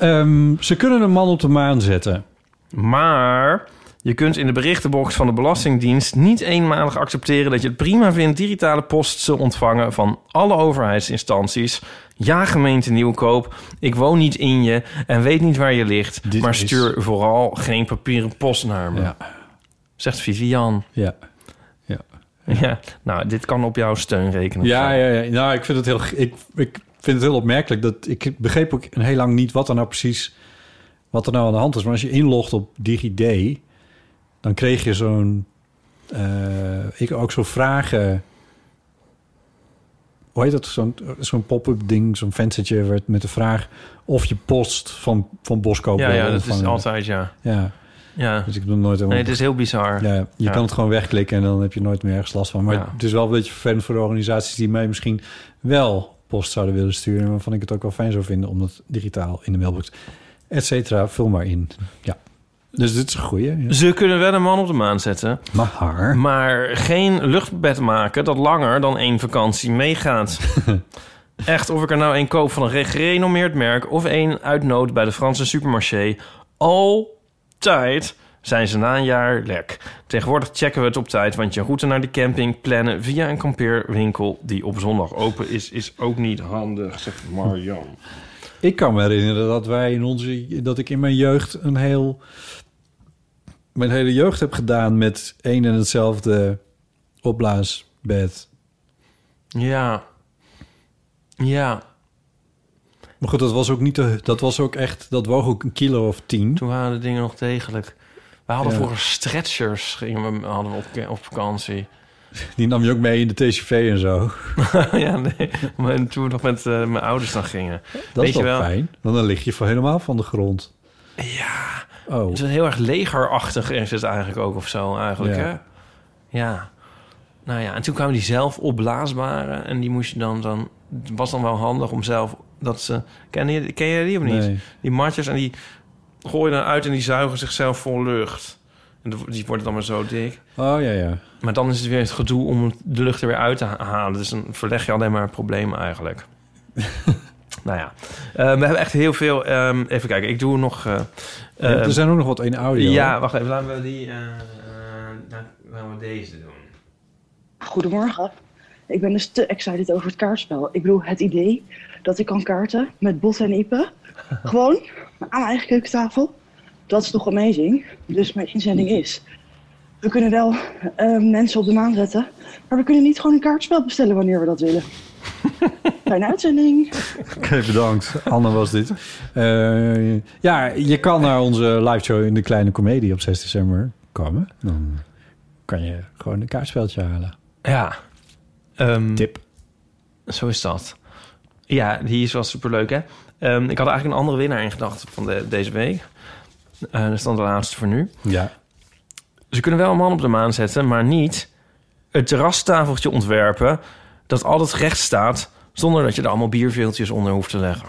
Ehm, ze kunnen een man op de maan zetten. Maar Je kunt in de berichtenbox van de Belastingdienst niet eenmalig accepteren dat je het prima vindt digitale post te ontvangen van alle overheidsinstanties. Ja, gemeente Nieuwkoop, ik woon niet in je en weet niet waar je ligt, maar is- stuur vooral geen papieren post naar me. Ja. Zegt Vivian. Ja. ja. Ja, nou, dit kan op jouw steun rekenen. Ja, ja, ja. Nou, ik vind het heel, ik, ik vind het heel opmerkelijk. Dat, ik begreep ook een heel lang niet wat er nou precies wat er nou aan de hand is. Maar als je inlogt op DigiD, dan kreeg je zo'n... eh, ik ook zo'n vragen... Hoe heet dat? Zo'n zo'n pop-up ding, zo'n venstertje werd met de vraag... of je post van, van Boskoop Ja, wil ja, dat is ontvangen. altijd, ja. Ja. Ja. Dus ik heb hem nooit helemaal- Nee, het is heel bizar. Ja, je Ja. kan het gewoon wegklikken en dan heb je nooit meer ergens last van. Maar Ja. het is wel een beetje vervelend voor de organisaties die mij misschien wel post zouden willen sturen. Waarvan ik het ook wel fijn zou vinden om dat digitaal in de mailbox, et cetera. Vul maar in. Ja. Dus dit is een goeie. Ja. Ze kunnen wel een man op de maan zetten. Maar. Maar geen luchtbed maken dat langer dan één vakantie meegaat. Echt, of ik er nou één koop van een re- gerenommeerd merk... of één uit nood bij de Franse supermarché... altijd zijn ze na een jaar lek. Tegenwoordig checken we het op tijd... want je route naar de camping plannen via een kampeerwinkel... die op zondag open is, is ook niet handig, zegt Marjan. Ik kan me herinneren dat wij in onze, dat ik in mijn jeugd een heel, mijn hele jeugd heb gedaan met één en hetzelfde opblaasbed. Ja. Ja. Maar goed, dat was ook niet, de, dat was ook echt, dat woog ook een kilo of tien. Toen waren de dingen nog degelijk. We hadden Ja. vroeger stretchers gingen we, hadden we op, op vakantie. Die nam je ook mee in de TCV en zo. ja, nee. Maar en toen we nog met eh, mijn ouders dan gingen. Dat is wel, fijn, want dan lig je van helemaal van de grond. Oh. Het is heel erg legerachtig is het eigenlijk ook of zo eigenlijk, Ja. hè? Ja. Nou ja, en toen kwamen die zelf opblaasbare. En die moest je dan... dan het was dan wel handig om zelf dat ze... Ken je, ken je die of niet? Nee. Die matjes en die gooien dan uit en die zuigen zichzelf vol lucht. En de- die worden dan maar zo dik. Oh ja, ja. Maar dan is het weer het gedoe om de lucht er weer uit te ha- halen. Dus dan verleg je alleen maar een probleem eigenlijk. nou ja, Eh, we hebben echt heel veel... ehm, even kijken, ik doe nog... eh, Ja, ehm, er zijn ook nog wat in audio. Ja, wacht even, laten we die... eh, eh, laten laten we deze doen. Goedemorgen. Ik ben dus te excited over het kaartspel. Ik bedoel, het idee dat ik kan kaarten met Bot en Ipe. Gewoon aan mijn eigen keukentafel. Dat is toch amazing. Dus mijn inzending is... We kunnen wel eh, mensen op de maan zetten. Maar we kunnen niet gewoon een kaartspel bestellen wanneer we dat willen. Fijne uitzending. Oké, bedankt. Anne was dit. Eh, ja, je kan naar onze live show in de Kleine Comedie op 6 december komen. Dan kan je gewoon een kaartspeltje halen. Ja. Tip. Zo is dat. Ja, die is wel superleuk, hè? Ehm, ik had eigenlijk een andere winnaar in gedachten van de, deze week. Eh dat is dan de laatste voor nu. Ja. Ze kunnen wel een man op de maan zetten, maar niet het terrastafeltje ontwerpen dat altijd recht staat, zonder dat je er allemaal bierveeltjes onder hoeft te leggen.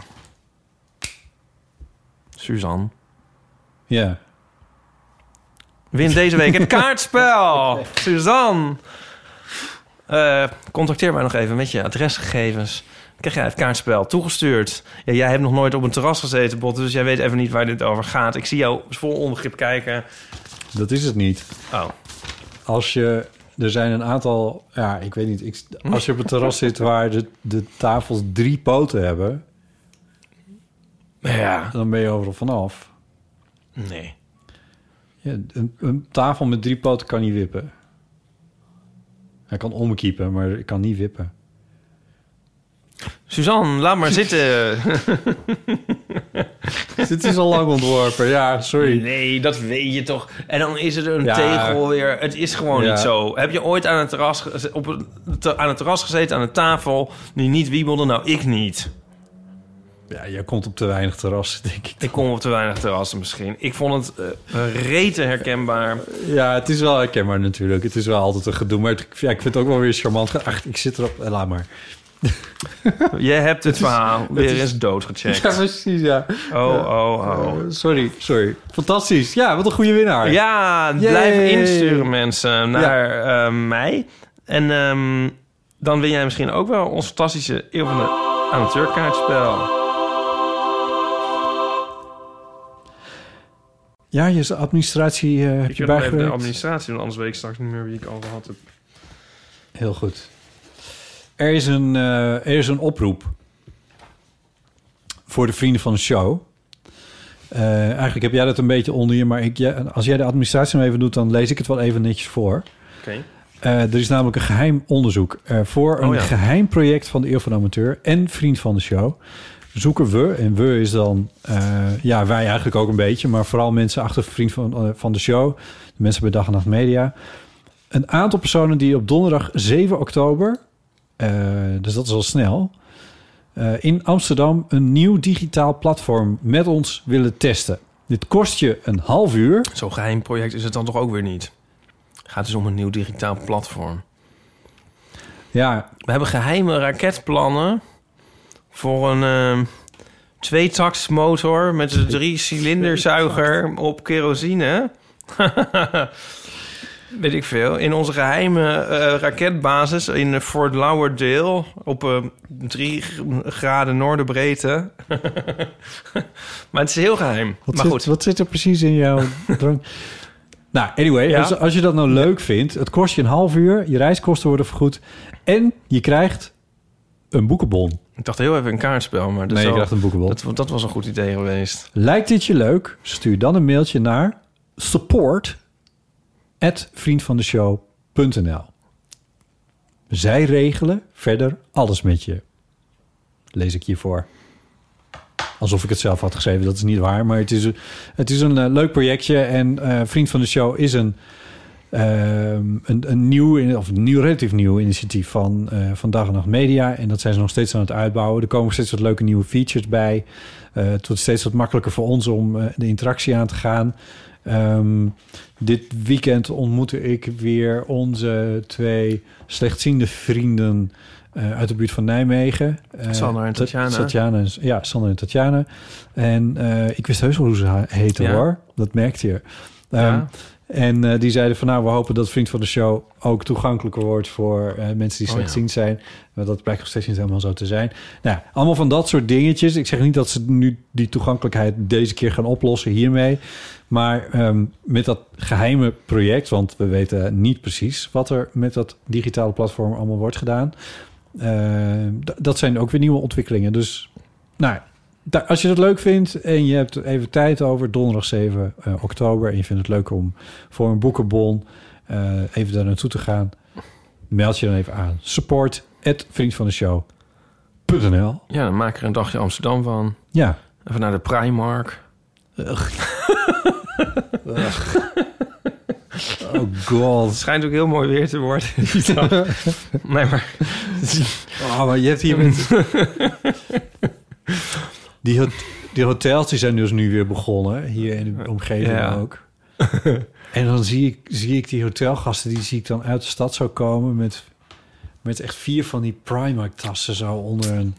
Suzanne. Ja. Win deze week het kaartspel. Suzanne. Eh, contacteer mij nog even met je adresgegevens. Krijg jij het kaartspel toegestuurd? Ja, jij hebt nog nooit op een terras gezeten, Bot, dus jij weet even niet waar dit over gaat. Ik zie jou vol onbegrip kijken. Dat is het niet. Oh. Als je... Er zijn een aantal... Ja, ik weet niet. Ik, als je op het terras zit waar de, de tafels drie poten hebben... Ja. Dan ben je overal vanaf. Nee. Ja, een, een tafel met drie poten kan niet wippen. Hij kan omkiepen, maar ik kan niet wippen. Suzanne, laat maar zitten. Dit is al lang ontworpen, ja, sorry. Nee, dat weet je toch. En dan is het een Ja. tegel weer. Het is gewoon Ja. niet zo. Heb je ooit aan het, terras, geze- op een, te- aan het terras gezeten, aan een tafel, die niet wiebelde? Nou, ik niet. Ja, jij komt op te weinig terrassen, denk ik. Ik kom op te weinig terrassen misschien. Ik vond het eh rete herkenbaar. Ja, het is wel herkenbaar natuurlijk. Het is wel altijd een gedoe, maar het- ja, ik vind het ook wel weer charmant. Ach, ik zit erop, eh, laat maar. Je hebt het verhaal weer is- eens doodgecheckt. Ja, precies, ja. Oh, oh, oh. sorry, sorry. Fantastisch. Ja, wat een goede winnaar. Ja, Yay. blijf insturen mensen naar eh, mij. En ehm, dan win jij misschien ook wel ons fantastische Eeuw van de Amateurkaartspel. Ja, je administratie eh, heb ik je wil nog even de bijgewerkt. administratie doen, anders weet ik straks niet meer wie ik al gehad heb. Heel goed. Er is, een, eh, er is een oproep voor de vrienden van de show. Eh, eigenlijk heb jij dat een beetje onder je, maar ik, ja, als jij de administratie nog even doet, dan lees ik het wel even netjes voor. Oké. Eh, er is namelijk een geheim onderzoek. Eh, voor een Oh ja. geheim project van de Eeuw van de Amateur en vriend van de show zoeken we, en we is dan, eh, ja, wij eigenlijk ook een beetje, maar vooral mensen achter vriend van, eh, van de show, de mensen bij Dag en Nacht Media, een aantal personen die op donderdag 7 oktober, eh, dus dat is al snel, eh, in Amsterdam een nieuw digitaal platform met ons willen testen. Dit kost je een half uur. Zo'n geheim project is het dan toch ook weer niet? Gaat dus om een nieuw digitaal platform. Ja. We hebben geheime raketplannen voor een ehm tweetaktsmotor met een drie-cilinderzuiger op kerosine. Weet ik veel. In onze geheime eh, raketbasis in Fort Lauderdale op eh, drie graden noordenbreedte. maar het is heel geheim. Wat, maar zit, goed. wat zit er precies in jouw drank? Nou, anyway, Ja. als, als je dat nou leuk vindt, het kost je een half uur, je reiskosten worden vergoed en je krijgt een boekenbon. Ik dacht heel even een kaartspel, maar dat, Nee, is je al- krijgt een boekenbon. dat, dat was een goed idee geweest. Lijkt dit je leuk? Stuur dan een mailtje naar support Zij regelen verder alles met je. Lees ik hiervoor. Alsof ik het zelf had geschreven, dat is niet waar. Maar het is, een- het is een eh, leuk projectje. En eh, Vriend van de Show is een, ehm, een, een nieuw, in- of een nieuw, relatief nieuw initiatief van, eh van Dag en Nacht Media. En dat zijn ze nog steeds aan het uitbouwen. Er komen steeds wat leuke nieuwe features bij. Eh, het wordt steeds wat makkelijker voor ons om eh, de interactie aan te gaan. Ehm, dit weekend ontmoette ik weer onze twee slechtziende vrienden eh, uit de buurt van Nijmegen. Eh, Sander en Ta- Tatjana. Tatjana en, ja, Sander en Tatjana. En eh, ik wist heus wel hoe ze ha- heten Ja. hoor. Dat merkte je. Ehm, Ja. En eh, die zeiden van nou, we hopen dat Vriend van de Show ook toegankelijker wordt voor eh, mensen die Oh, slechtziend zijn. Maar dat blijkt nog steeds niet helemaal zo te zijn. Nou, allemaal van dat soort dingetjes. Ik zeg niet dat ze nu die toegankelijkheid deze keer gaan oplossen hiermee. Maar ehm, met dat geheime project, want we weten niet precies wat er met dat digitale platform allemaal wordt gedaan. Ehm, d- dat zijn ook weer nieuwe ontwikkelingen. Dus nou, da- als je dat leuk vindt en je hebt er even tijd over, donderdag 7 eh, oktober, en je vindt het leuk om voor een boekenbon eh, even daar naartoe te gaan, meld je dan even aan. Support at vriendvandeshow.nl. Ja, dan maak er een dagje Amsterdam van. Ja. Even naar de Primark. Oh god. Het schijnt ook heel mooi weer te worden. die dag. nee, maar... Oh, maar je hebt hier Die, hot- die hotels die zijn dus nu weer begonnen, hier in de omgeving Ja. ook. En dan zie ik, zie ik die hotelgasten, die zie ik dan uit de stad zo komen... met, met echt vier van die Primark-tassen zo onder hun.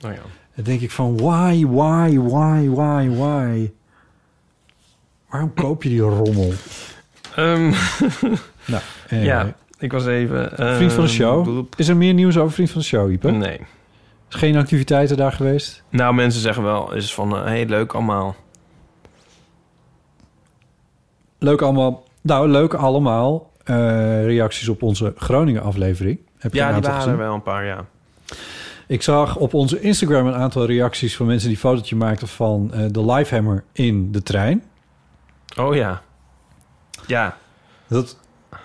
Dan denk ik van, why, why, why, why, why? Waarom koop je die rommel? Ehm, Nou, ja, anyway. ik was even... Vriend van de ehm, show. Is er meer nieuws over Vriend van de Show, Ipe? Nee. Is geen activiteiten daar geweest? Nou, mensen zeggen wel is van... eh, hey, leuk allemaal. Leuk allemaal. Nou, leuk allemaal. eh, reacties op onze Groningen aflevering. Heb je ja, een die aantal waren gezien? er wel een paar, ja. Ik zag op onze Instagram een aantal reacties van mensen die een fotootje maakten van eh, de Lifehammer in de trein. Oh ja. Ja. Dat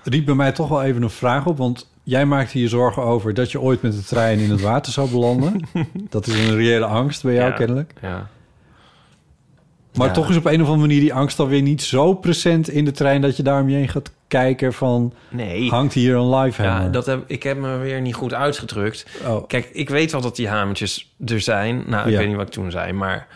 riep bij mij toch wel even een vraag op, want jij maakte je zorgen over dat je ooit met de trein in het water zou belanden. dat is een reële angst bij jou Ja. kennelijk. Ja. Maar Ja. toch is op een of andere manier die angst alweer niet zo present in de trein dat je daar om je heen gaat kijken van Nee. hangt hier een Lifehammer? Ja, dat heb, ik heb me weer niet goed uitgedrukt. Oh. Kijk, ik weet wel dat die hamertjes er zijn. Nou, ik Ja. weet niet wat ik toen zei, maar...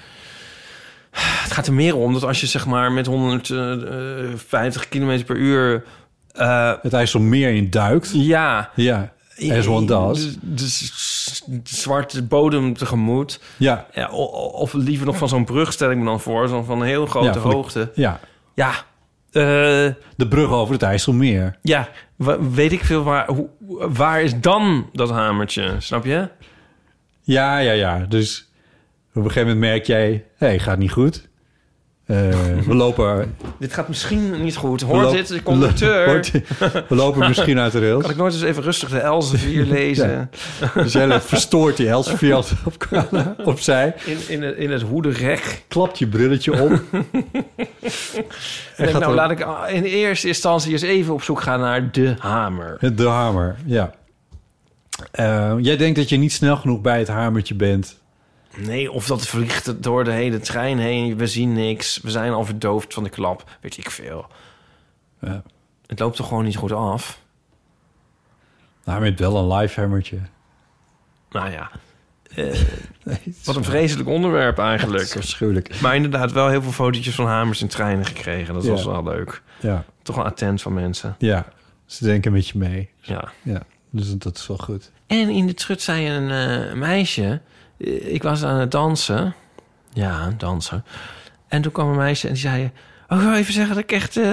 Het gaat er meer om dat als je zeg maar met eh, 150 km per uur... eh, het IJsselmeer in duikt. Ja. dus Ja, as one does. De, de s- de zwarte bodem tegemoet. Ja. o- o- of liever nog van zo'n brug stel ik me dan voor. Zo'n van een heel grote Ja, van de- hoogte. Ja. Ja. eh, De brug over het IJsselmeer. ja, wa- weet ik veel waar... hoe- waar is dan dat hamertje? Snap je? Ja, ja, ja. Dus op een gegeven moment merk jij... hé, hey, gaat niet goed. Eh, we lopen Dit gaat misschien niet goed. We Hoort lopen- dit, de conducteur? Hoort- we lopen misschien uit de rails. Kan ik nooit eens even rustig de Elsevier lezen? Ja. Dus jij legt verstoord die Elsevier altijd op, opzij. In, in, het- in het hoederek. Klapt je brilletje op. Ik denk, gaat nou, er- laat ik in eerste instantie eens even op zoek gaan naar de hamer. De hamer, ja. Eh, jij denkt dat je niet snel genoeg bij het hamertje bent. Nee, of dat vliegt het door de hele trein heen. We zien niks. We zijn al verdoofd van de klap. Weet ik veel. Ja. Het loopt toch gewoon niet goed af? Nou, met wel een live hamertje. Nou ja. Eh, wat een vreselijk onderwerp eigenlijk. Dat is afschuwelijk. Maar inderdaad, wel heel veel fotootjes van hamers en treinen gekregen. Dat Ja. was wel leuk. Ja. Toch wel attent van mensen. Ja, ze denken met je mee. Ja. ja. Dus dat is wel goed. En in de trut zei een eh, meisje... eh, Ik was aan het dansen. Ja, dansen. En toen kwam een meisje en die zei... Oh, ik wil even zeggen dat ik echt eh,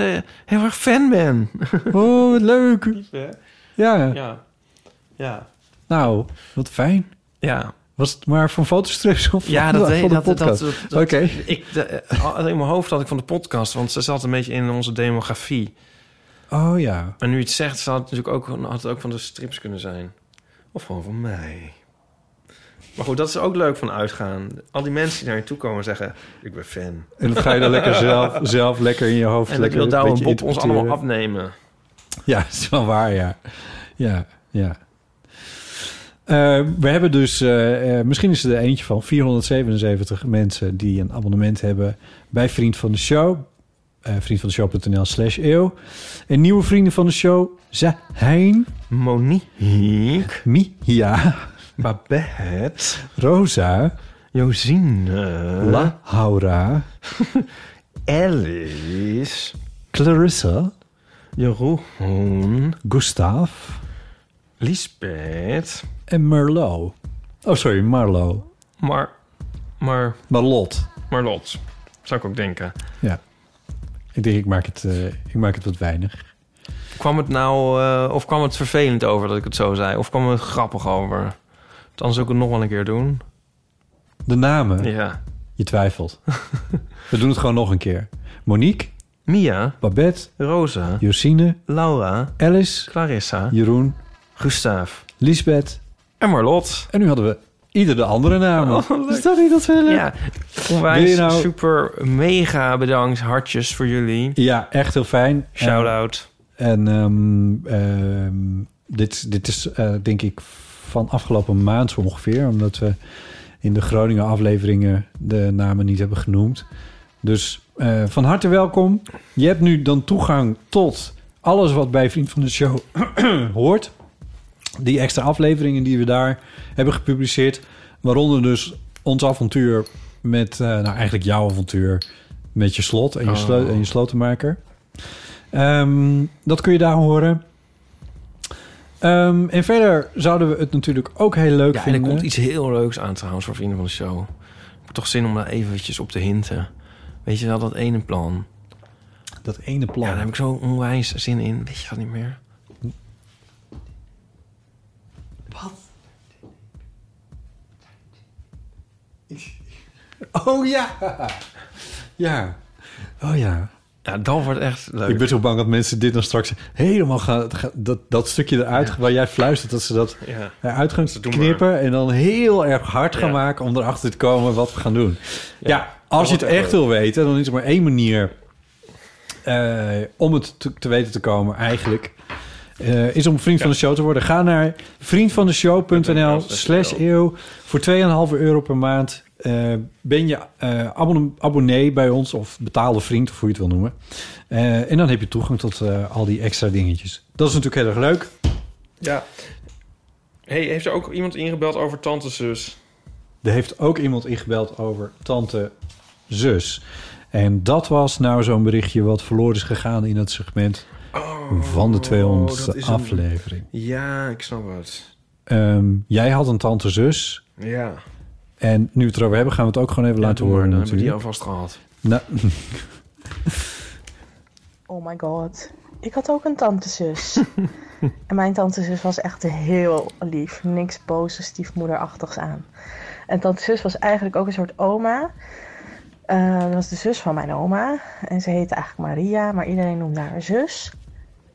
heel erg fan ben. Oh, wat leuk. Ja. Ja. Ja. Nou, wat fijn. Ja. Was het maar van fotostrips of Ja, van, dat van weet de dat, dat, podcast? dat, dat- Oké. ik. de- eh, al- in mijn hoofd had ik van de podcast, want ze zat een beetje in onze demografie. Oh ja. Maar nu je het zegt, zou het natuurlijk ook, had het ook van de strips kunnen zijn. Of gewoon van mij. Maar goed, dat is ook leuk van uitgaan. Al die mensen die naar je toe komen en zeggen: Ik ben fan. En dat ga je dan lekker zelf, zelf lekker in je hoofd. En dat lekker wil een Douwe beetje Bob ons allemaal interpreteren. afnemen. Ja, dat is wel waar, ja. Ja, ja. Eh, we hebben dus, eh, eh, misschien is er eentje van 477 mensen die een abonnement hebben bij Vriend van de Show. eh vriendvandeshow.nl slash eeuw. En nieuwe vrienden van de show zijn... Monique. Mia. Babette. Rosa. Josine. Laura. Alice. Clarissa. Jeroen. Gustav. Lisbeth. En Merlot. Oh, sorry, Marlo. Maar, maar... Marlot. Marlot, zou ik ook denken. Ja. Ik denk, ik maak het, eh, ik maak het wat weinig. Kwam het nou, eh, of kwam het vervelend over dat ik het zo zei? Of kwam het grappig over? Want Anders zou ik het nog wel een keer doen. De namen. Ja. Je twijfelt. We doen het gewoon nog een keer. Monique. Mia. Babette. Rosa. Josine. Laura. Alice. Clarissa. Jeroen. Gustav. Lisbeth. En Marlot. En nu hadden we ieder de andere namen. is dat niet dat we... Ja. Wil Onwijs je nou- super mega bedankt. Hartjes voor jullie. Ja, echt heel fijn. Shout-out. En ehm, ehm, dit, dit is eh, denk ik van afgelopen maand zo ongeveer. Omdat we in de Groningen afleveringen de namen niet hebben genoemd. Dus eh, van harte welkom. Je hebt nu dan toegang tot alles wat bij Vriend van de Show hoort. Die extra afleveringen die we daar hebben gepubliceerd. Waaronder dus ons avontuur met... eh, nou, eigenlijk jouw avontuur met je slot en je, Oh. sleu- en je slotenmaker. Ehm, dat kun je daar horen. Ehm, en verder zouden we het natuurlijk ook heel leuk Ja, en er vinden. komt iets heel leuks aan trouwens voor vrienden van de show. Ik heb toch zin om daar eventjes op te hinten. Weet je wel, dat ene plan. Dat ene plan. Ja, daar heb ik zo onwijs zin in. Weet je dat niet meer? Oh ja! Ja. Oh ja. Ja, dan wordt het echt leuk. Ik ben zo bang dat mensen dit dan straks helemaal gaan... gaan- dat, dat stukje eruit, waar jij fluistert, dat ze dat Ja. eruit gaan doen knippen... en dan heel erg hard gaan Ja. maken om erachter te komen wat we gaan doen. Ja, dat als je het wordt echt echt wil weten, dan is er maar één manier... eh, om het te, te weten te komen eigenlijk... eh, is om vriend van de show te worden. Ga naar vriendvandeshow.nl slash eeuw. Voor 2,5 euro per maand eh, ben je eh, abonne- abonnee bij ons... of betaalde vriend, of hoe je het wil noemen. Eh, en dan heb je toegang tot eh, al die extra dingetjes. Dat is natuurlijk heel erg leuk. Ja. hey, heeft er ook iemand ingebeld over dus? tante zus? Er heeft ook iemand ingebeld over tante zus. En dat was nou zo'n berichtje wat verloren is gegaan in het segment van de 200ste aflevering. Ja, ik snap het. Ehm, jij had een tante zus. Ja. En nu we het erover hebben, gaan we het ook gewoon even laten horen Dan hebben we die natuurlijk. alvast gehad. Nou, Oh my god. Ik had ook een tantezus. en mijn tantezus was echt heel lief. Niks boze stiefmoederachtigs aan. En tantezus was eigenlijk ook een soort oma. Eh, dat was de zus van mijn oma. En ze heette eigenlijk Maria, maar iedereen noemde haar zus.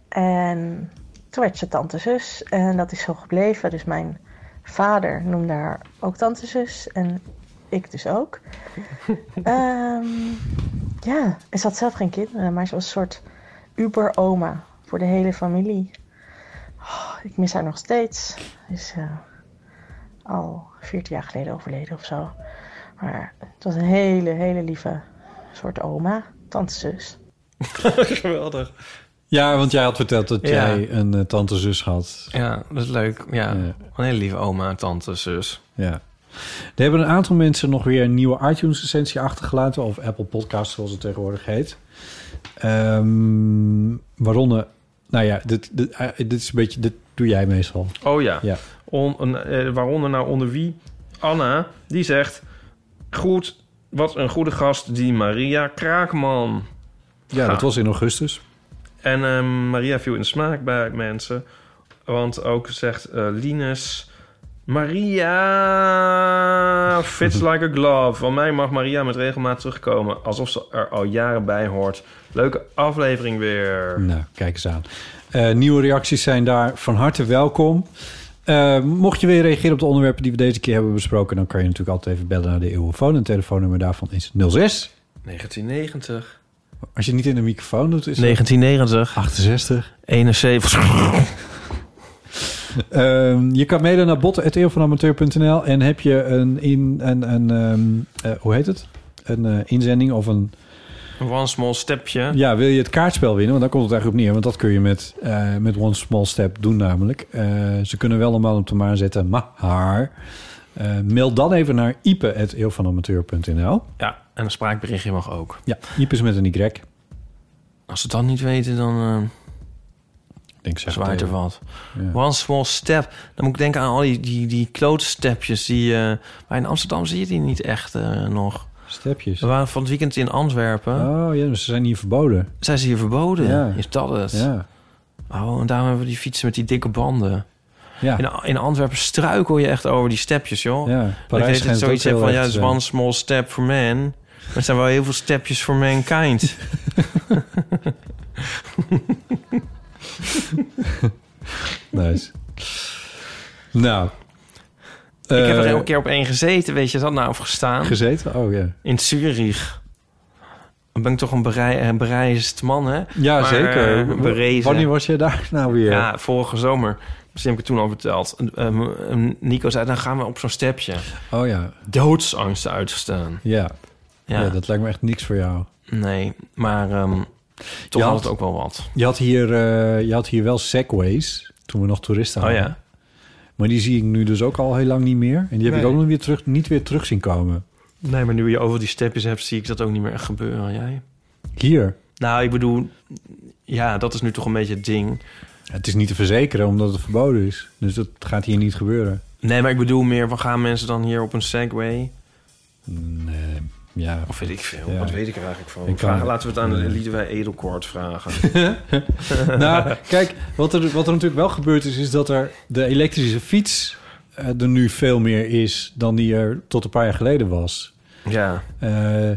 En toen werd ze tante zus. En dat is zo gebleven. Dus mijn vader noemde haar ook tante zus. En ik dus ook. Ehm, ja, en ze had zelf geen kinderen, maar ze was een soort uber-oma voor de hele familie. Oh, ik mis haar nog steeds. Ze is eh, al 14 jaar geleden overleden of zo. Maar het was een hele, hele lieve soort oma, tante zus. Geweldig. Ja, want jij had verteld dat Ja. jij een eh, tante-zus had. Ja, dat is leuk. Ja, een hele lieve oma, tante, zus. Ja. Er hebben een aantal mensen nog weer een nieuwe iTunes-essentie achtergelaten... of Apple Podcasts, zoals het tegenwoordig heet. Ehm, waaronder... Nou ja, dit, dit, eh, dit is een beetje... Dit doe jij meestal. Oh ja. Ja. On- een, eh, waaronder nou onder wie? Anna, die zegt... Goed, wat een goede gast, die Maria Kraakman. Ja, Ha. dat was in augustus. En ehm, Maria viel in de smaak bij mensen. Want ook zegt eh Linus... Maria fits like a glove. Van mij mag Maria met regelmaat terugkomen. Alsof ze er al jaren bij hoort. Leuke aflevering weer. Nou, kijk eens aan. Eh, nieuwe reacties zijn daar van harte welkom. Eh, mocht je weer reageren op de onderwerpen die we deze keer hebben besproken... dan kan je natuurlijk altijd even bellen naar de Eeuwenfoon. En het telefoonnummer daarvan is 06. 1990. Als je niet in de microfoon doet, is dat- 1990. 68. 71. Ehm, je kan mailen naar bot.eeuwvanamateur.nl en heb je een, in, een, een ehm, eh, hoe heet het? Een eh, inzending of een... One small stepje. Ja, wil je het kaartspel winnen? Want daar komt het eigenlijk op neer. Want dat kun je met, eh, met One Small Step doen namelijk. Eh, ze kunnen wel een man op de maan zetten, maar haar. Eh, mail dan even naar ipe.eeuwvanamateur.nl Ja, en een spraakberichtje mag ook. Ja, Ipe is met een Y. Als ze dat niet weten, dan... eh, Denk zeg het Zwaait er even. wat. Ja. One small step. Dan moet ik denken aan al die, die, die klootstepjes. Die, eh, maar in Amsterdam zie je die niet echt eh, nog. Stepjes? We waren van het weekend in Antwerpen. Oh ja, dus ze zijn hier verboden. Zijn ze hier verboden? Ja. Is dat het? Ja. Oh, en daarom hebben we die fietsen met die dikke banden. Ja. In, in Antwerpen struikel je echt over die stepjes, joh. Ja, dat ik deed Parijs schijnt het het zoiets ook heb heel van, erg eh, ja, het te is zijn. one small step for man. Maar er zijn wel heel veel stepjes voor mankind. Nice. nou. ik heb er Eh, een keer op één gezeten, weet je dat nou, of gestaan. Gezeten? Oh ja. In Zurich. Dan ben ik toch een, berei, een bereisd man, hè? Ja, Maar, zeker. eh, berezen. Wanneer was jij daar nou weer? Ja, vorige zomer. Misschien heb ik het toen al verteld. Ehm, ehm, Nico zei, dan gaan we op zo'n stepje. Oh ja. Doodsangst uitstaan. Ja. Ja. ja. dat lijkt me echt niks voor jou. Nee, maar ehm toch Je had had- het ook wel wat. Je had hier, eh, je had hier wel segways toen we nog toeristen Oh, hadden. ja. Maar die zie ik nu dus ook al heel lang niet meer. En die heb ik Nee. ook nog weer terug, niet weer terug zien komen. Nee, maar nu je over die stepjes hebt, zie ik dat ook niet meer echt gebeuren. Jij? Hier. Nou, ik bedoel... Ja, dat is nu toch een beetje het ding. Het is niet te verzekeren omdat het verboden is. Dus dat gaat hier niet gebeuren. Nee, maar ik bedoel meer, van gaan mensen dan hier op een Segway? Nee, ja. Of Nou, weet ik veel. Ja. Wat weet ik er eigenlijk van? Ik kan- Vraag- laten we het aan de Nee. Liedewij Edelkoort vragen. nou, kijk, wat er, wat er natuurlijk wel gebeurd is, is dat er de elektrische fiets eh, er nu veel meer is dan die er tot een paar jaar geleden was. Ja. Eh,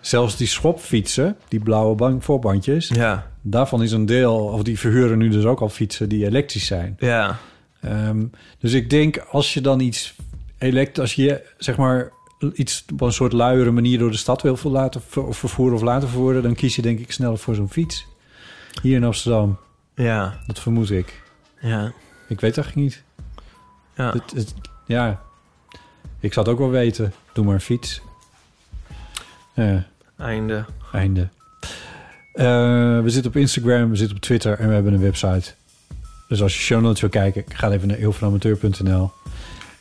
zelfs die schopfietsen, die blauwe bank, voorbandjes, ja. daarvan is een deel, of die verhuren nu dus ook al fietsen die elektrisch zijn. Ja. Ehm, dus ik denk als je dan iets elekt, als je zeg maar iets op een soort luiere manier door de stad wil ver- laten ver- of vervoeren of laten vervoeren, dan kies je denk ik sneller voor zo'n fiets. Hier in Amsterdam. Ja. Dat vermoed ik. Ja. Ik weet eigenlijk niet. Ja. Het, het- ja. Ik zou het ook wel weten. Doe maar een fiets. Ja. Einde. Einde. Eh, we zitten op Instagram, we zitten op Twitter en we hebben een website. Dus als je show notes wil kijken, ga even naar eeuwvanamateur.nl.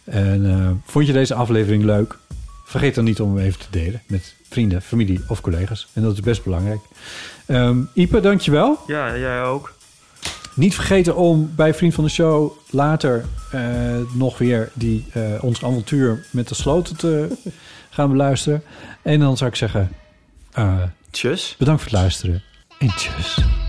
En eh, vond je deze aflevering leuk? Vergeet dan niet om hem even te delen met vrienden, familie of collega's. En dat is best belangrijk. Ehm Ipe, dankjewel. Ja, jij ook. Niet vergeten om bij Vriend van de Show later eh, nog weer die, eh, ons avontuur met de sloten te gaan beluisteren. En dan zou ik zeggen, eh, tjus. Bedankt voor het luisteren en tjus.